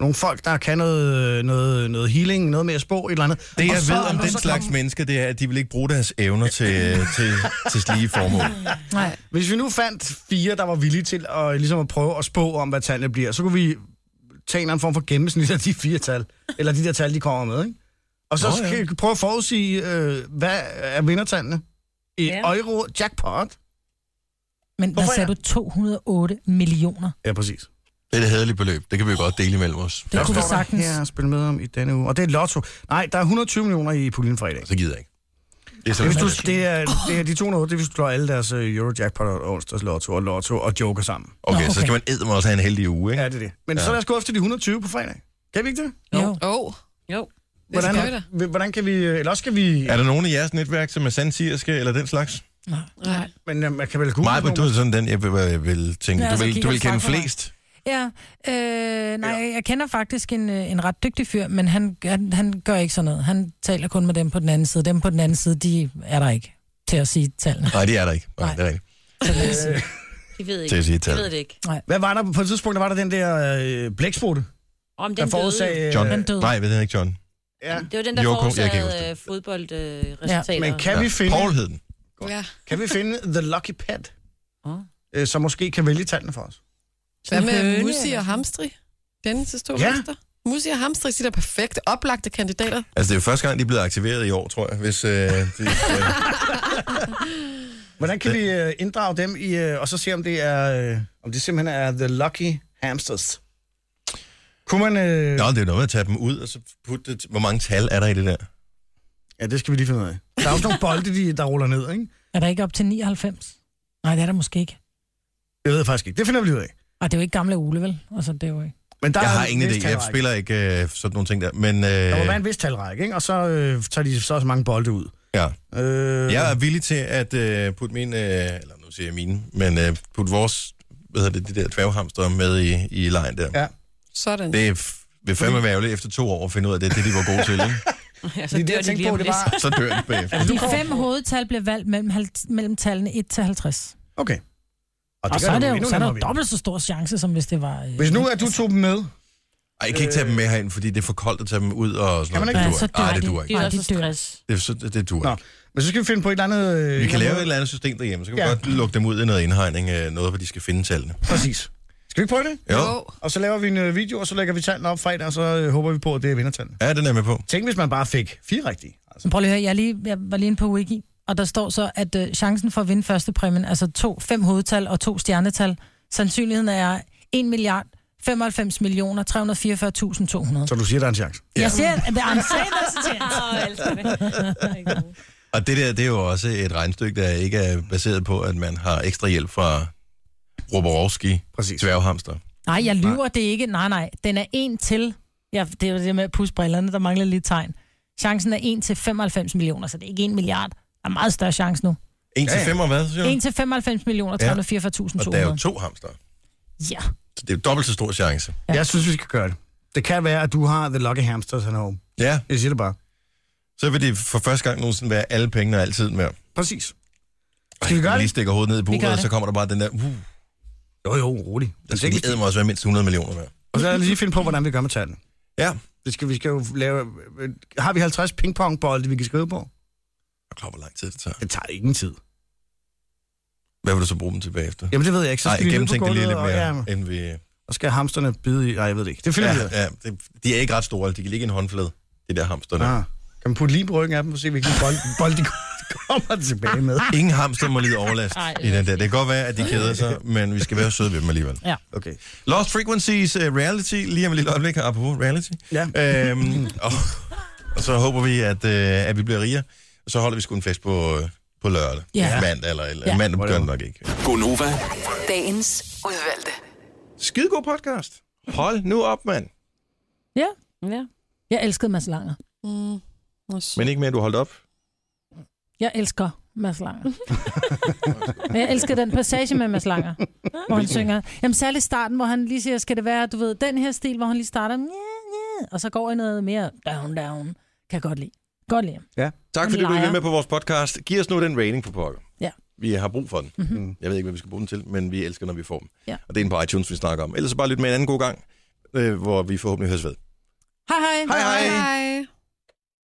Speaker 4: Nogle folk, der kan noget, øh, noget, noget healing, noget med at spå, et eller andet.
Speaker 1: Det,
Speaker 4: Og
Speaker 1: jeg
Speaker 4: så-
Speaker 1: ved om
Speaker 4: og
Speaker 1: den
Speaker 4: så
Speaker 1: slags
Speaker 4: komme-
Speaker 1: mennesker, det er, at de vil ikke bruge deres evner til, øh, til, til slige formål.
Speaker 3: Nej.
Speaker 4: Hvis vi nu fandt fire, der var villige til at, ligesom at prøve at spå om, hvad tallene bliver, så kunne vi tage en eller anden form for gennemsnit af de fire tal, eller de der tal, de kommer med, ikke? Og så
Speaker 1: Nå, ja.
Speaker 4: skal vi prøve at forudsige, øh, hvad er vindertallene i
Speaker 5: Ja.
Speaker 4: euro jackpot?
Speaker 3: Men hvad
Speaker 4: Hvorfor
Speaker 3: sagde du? 208 millioner?
Speaker 4: Ja, præcis.
Speaker 1: Det er et hederligt beløb. Det kan vi jo godt dele imellem os.
Speaker 3: Det
Speaker 4: Der
Speaker 3: kunne vi
Speaker 4: står der
Speaker 3: sagtens.
Speaker 4: Her at spille med om i denne uge. Og det er Lotto. Nej, der er 120 millioner i puljen fra i dag.
Speaker 1: Så gider jeg ikke. Det er
Speaker 4: Det er,
Speaker 1: sådan,
Speaker 4: hvis du, det er, det er de 208, det er, hvis du slår alle deres øh, Eurojackpot og onsdags Lotto og Lotto og Joker sammen.
Speaker 1: okay,
Speaker 3: Nå,
Speaker 1: så skal man eddermame også have en heldig uge, ikke?
Speaker 4: Ja, det er det. Men så lad os gå efter de 120 på fredag. Kan vi ikke det?
Speaker 3: Jo.
Speaker 2: Åh, oh,
Speaker 5: Jo.
Speaker 2: det
Speaker 4: Hvordan,
Speaker 2: skal vi da.
Speaker 4: h- hvordan kan vi... øh, Eller også skal vi...
Speaker 1: Er der nogen i jeres netværk, som er sandsirske eller den slags?
Speaker 2: Nej.
Speaker 4: Men øh, man kan vel google
Speaker 1: Mig,
Speaker 4: det,
Speaker 1: du er sådan den, jeg vil, jeg vil tænke,
Speaker 3: Ja,
Speaker 1: du
Speaker 3: så
Speaker 1: vil,
Speaker 3: kigger
Speaker 1: du vil
Speaker 3: du frem
Speaker 1: kende
Speaker 3: for mig.
Speaker 1: flest.
Speaker 3: Ja, øh, nej, jeg kender faktisk en, øh, en ret dygtig fyr, men han, han, han gør ikke sådan noget. Han taler kun med dem på den anden side. Dem på den anden side, de er der ikke til at sige tallene.
Speaker 1: Nej, det er der ikke. Nej, det er rigtigt.
Speaker 5: De ved
Speaker 1: Til
Speaker 5: ikke.
Speaker 1: at sige
Speaker 5: De
Speaker 1: tal.
Speaker 5: ved det ikke.
Speaker 4: Øh, Hvad var der på et tidspunkt, der var der den der øh, blæksprutte,
Speaker 5: Om den
Speaker 4: der
Speaker 5: døde.
Speaker 4: forårsag...
Speaker 1: John.
Speaker 3: Han døde.
Speaker 1: Nej, jeg ved ikke John.
Speaker 4: Ja.
Speaker 5: Det var den, der
Speaker 1: Joko,
Speaker 5: Joko,
Speaker 1: jeg kan ikke huske
Speaker 5: forårsagede
Speaker 1: det.
Speaker 5: øh, fodboldresultater. Øh,
Speaker 4: Men kan,
Speaker 1: Ja.
Speaker 4: vi finde,
Speaker 1: Paul hed den.
Speaker 2: Ja.
Speaker 4: kan vi finde The Lucky Pet,
Speaker 5: Åh.
Speaker 4: øh, som måske kan vælge tallene for os?
Speaker 2: Hvad
Speaker 3: Sådan en
Speaker 2: med
Speaker 3: høne,
Speaker 2: Musi
Speaker 3: eller
Speaker 2: og Hamstri? Denne til to
Speaker 4: Ja.
Speaker 2: ja. Hamster. Musi og Hamstri de der perfekte, oplagte kandidater.
Speaker 1: Altså, det er jo første gang, de er blevet aktiveret i år, tror jeg. Hvis, øh, det, øh,
Speaker 4: Hvordan kan vi øh, inddrage dem i, øh, og så se, om det er, øh, om det simpelthen er The Lucky Hamsters? Kunne man... Øh,
Speaker 1: Nå, det er noget med at tage dem ud, og så putte det... Hvor mange tal er der i det der?
Speaker 4: ja, det skal vi lige finde ud af. Der er også nogle bolde, de, der ruller ned, ikke?
Speaker 3: Er der ikke op til 99? Nej, det er der måske ikke.
Speaker 4: Det ved jeg faktisk ikke. Det finder vi lige ud af.
Speaker 3: Og det er jo ikke gamle Ole, vel? Altså, det er jo ikke.
Speaker 4: Men der
Speaker 1: Jeg
Speaker 4: Ah, er
Speaker 1: har
Speaker 4: en
Speaker 1: ingen
Speaker 4: vis
Speaker 1: idé. Jeg
Speaker 4: talrække.
Speaker 1: spiller ikke øh, sådan nogle ting der. Men øh,
Speaker 4: Der må være en vis talrække, ikke? Og så øh, tager de så også mange bolde ud.
Speaker 1: ja.
Speaker 4: Øh,
Speaker 1: jeg er villig til at øh, putte mine... Øh, eller nu siger jeg mine. Men øh, putte vores... Hvad hedder det? De der dværghamster med i, i lejen der.
Speaker 4: Ja.
Speaker 2: Sådan.
Speaker 1: Det er f- vil fandme være ærgerligt efter to år at finde ud af, at det er det, de var gode til, ikke?
Speaker 5: Ja,
Speaker 4: det, jeg tænkte på, det var...
Speaker 1: Så dør de bagefter.
Speaker 3: De fem hovedtal blev valgt mellem, halv- mellem tallene 1 til 50.
Speaker 4: Okay.
Speaker 3: Og så er, det jo,
Speaker 4: endnu
Speaker 3: så er der
Speaker 4: nemmere
Speaker 3: jo
Speaker 4: ved.
Speaker 3: dobbelt så stor chance, som hvis det var... øh,
Speaker 4: Hvis nu at du tog dem med,
Speaker 1: Ej, jeg kan ikke tage dem med herind, fordi det er for koldt at tage dem ud og sådan
Speaker 4: Kan man
Speaker 1: noget. Det
Speaker 3: Ja,
Speaker 4: ikke?
Speaker 3: så
Speaker 1: duer.
Speaker 3: dør
Speaker 1: Ej, det
Speaker 3: de.
Speaker 1: duer
Speaker 5: De
Speaker 1: ikke.
Speaker 5: er
Speaker 3: Nej,
Speaker 5: også
Speaker 3: de
Speaker 5: så
Speaker 3: dør.
Speaker 5: stress.
Speaker 1: Det, er så- det, det duer
Speaker 4: Nå.
Speaker 1: ikke.
Speaker 4: men så skal vi finde på et eller andet... øh,
Speaker 1: Vi kan lave et
Speaker 4: måde.
Speaker 1: eller andet system derhjemme, så kan vi
Speaker 4: Ja.
Speaker 1: godt lukke dem ud i noget indhegning, øh, noget, hvor de skal finde tallene.
Speaker 4: Præcis. Skal vi ikke prøve det?
Speaker 1: Jo,
Speaker 4: Og så laver vi en øh, video, og så lægger vi tallene op fredag, og så øh, håber vi på, at det er vindertallene.
Speaker 1: ja, den er jeg med på.
Speaker 4: Tænk, hvis man bare fik fire rigtige. Altså.
Speaker 3: Men Prøv lige at høre, jeg, er lige, jeg var lige inde på Wiki, og der står så, at øh, chancen for at vinde første præmien, altså to, fem hovedtal og to stjernetal, sandsynligheden er 1 milliard 95 millioner 344.200.
Speaker 4: Så du siger, der er en chance.
Speaker 3: Jeg siger, at I'm saying that's a chance.
Speaker 5: Åh, jeg elsker det.
Speaker 1: Og det der, det er jo også et regnstykke, der ikke er baseret på, at man har ekstra hjælp fra Roborovski,
Speaker 4: Præcis.
Speaker 1: dværghamster.
Speaker 3: Nej, jeg lyver, det er ikke. Nej, nej, den er 1 til... Ja, det er jo det med at pusse brillerne, der mangler lige et tegn. Chancen er 1 til 95 millioner, så det er ikke 1 milliard. Der er meget større chance nu.
Speaker 1: 1 til
Speaker 4: Ja, ja.
Speaker 1: 5 og hvad, siger du?
Speaker 3: 1 til 95 millioner
Speaker 1: Og der er jo
Speaker 3: 344.200.
Speaker 1: to hamster.
Speaker 3: Ja.
Speaker 1: Så det er jo dobbelt så stor chance.
Speaker 4: Ja. Jeg synes, vi skal gøre det. Det kan være, at du har The Lucky Hamsters at home.
Speaker 1: Ja,
Speaker 4: Jeg siger det bare.
Speaker 1: så vil det for første gang nogensinde være alle pengene og altid med.
Speaker 4: Præcis. Skal vi gøre
Speaker 1: lige
Speaker 4: det?
Speaker 1: stikker hovedet ned i
Speaker 3: gør
Speaker 1: buret, og
Speaker 3: det.
Speaker 1: så kommer der bare den der, uh,
Speaker 4: Jo, jo, rolig.
Speaker 1: der skal lige æde mig også være mindst 100 millioner med.
Speaker 4: Og så lad os lige finde på, hvordan vi gør med tallene.
Speaker 1: Ja,
Speaker 4: Det skal, vi skal jo lave... øh, Har vi 50 pingpongbolde, vi kan skrive på?
Speaker 1: jeg er klar, hvor lang tid det tager.
Speaker 4: Det tager ingen tid.
Speaker 1: Hvad vil du så bruge dem til bagefter?
Speaker 4: Jamen, det ved jeg ikke. Så
Speaker 1: Nej,
Speaker 4: skal vi ned på
Speaker 1: gennemtænk det lige lidt
Speaker 4: gulvet,
Speaker 1: mere,
Speaker 4: Og, ja,
Speaker 1: end vi...
Speaker 4: og skal hamsterne bide i... Nej, jeg ved det ikke. Det finder vi ud af.
Speaker 1: Ja, ja det, de er ikke ret store, de kan ligge i en håndflade, de der hamster der.
Speaker 4: Ah, kan man putte lige på ryggen af dem og se, hvilken bold, bold de kommer tilbage med?
Speaker 1: Ingen hamster må lide overlast i den der. Det kan godt være, at de keder sig, men vi skal være søde ved dem alligevel.
Speaker 3: Ja.
Speaker 4: Okay.
Speaker 1: Lost Frequencies uh, Reality, lige om et lille øjeblik her, apropos reality.
Speaker 4: Ja.
Speaker 1: Øhm, og, og så håber vi, at, øh, at vi bliver rigere, og så holder vi sgu en fest på, øh, på lørdag.
Speaker 3: Ja.
Speaker 1: Mandag eller, eller ja.
Speaker 3: Ja.
Speaker 1: mandag gør det nok ikke.
Speaker 8: Gonova.
Speaker 6: Dagens udvalgte.
Speaker 1: Skidegod podcast. Hold nu op, mand.
Speaker 3: ja.
Speaker 5: Ja.
Speaker 3: Jeg elskede Mads Langer.
Speaker 2: Mm. Hvor sødt.
Speaker 1: Men ikke mere, du holdt op.
Speaker 3: Jeg elsker Mads Langer. Men jeg elsker den passage med Mads Langer, hvor han synger. Jamen særligt starten, hvor han lige siger, skal det være, du ved, den her stil, hvor han lige starter, "Nye, nye", og så går i noget mere down, down. Kan jeg godt lide. Godt lide. ham.
Speaker 1: Tak fordi du
Speaker 3: Lejer.
Speaker 1: er med på vores podcast. Giv os nu den rating på pokker.
Speaker 3: Ja. Mhm.
Speaker 1: Vi har brug for den. Mm-hmm. Jeg ved ikke, hvad vi skal bruge den til, men vi elsker, når vi får den.
Speaker 3: Ja.
Speaker 1: Og det er en på iTunes, vi snakker om. Ellers så bare lyt med en anden god gang, øh, hvor vi forhåbentlig høres ved.
Speaker 3: Hej hej.
Speaker 1: Hej hej!
Speaker 2: Hej.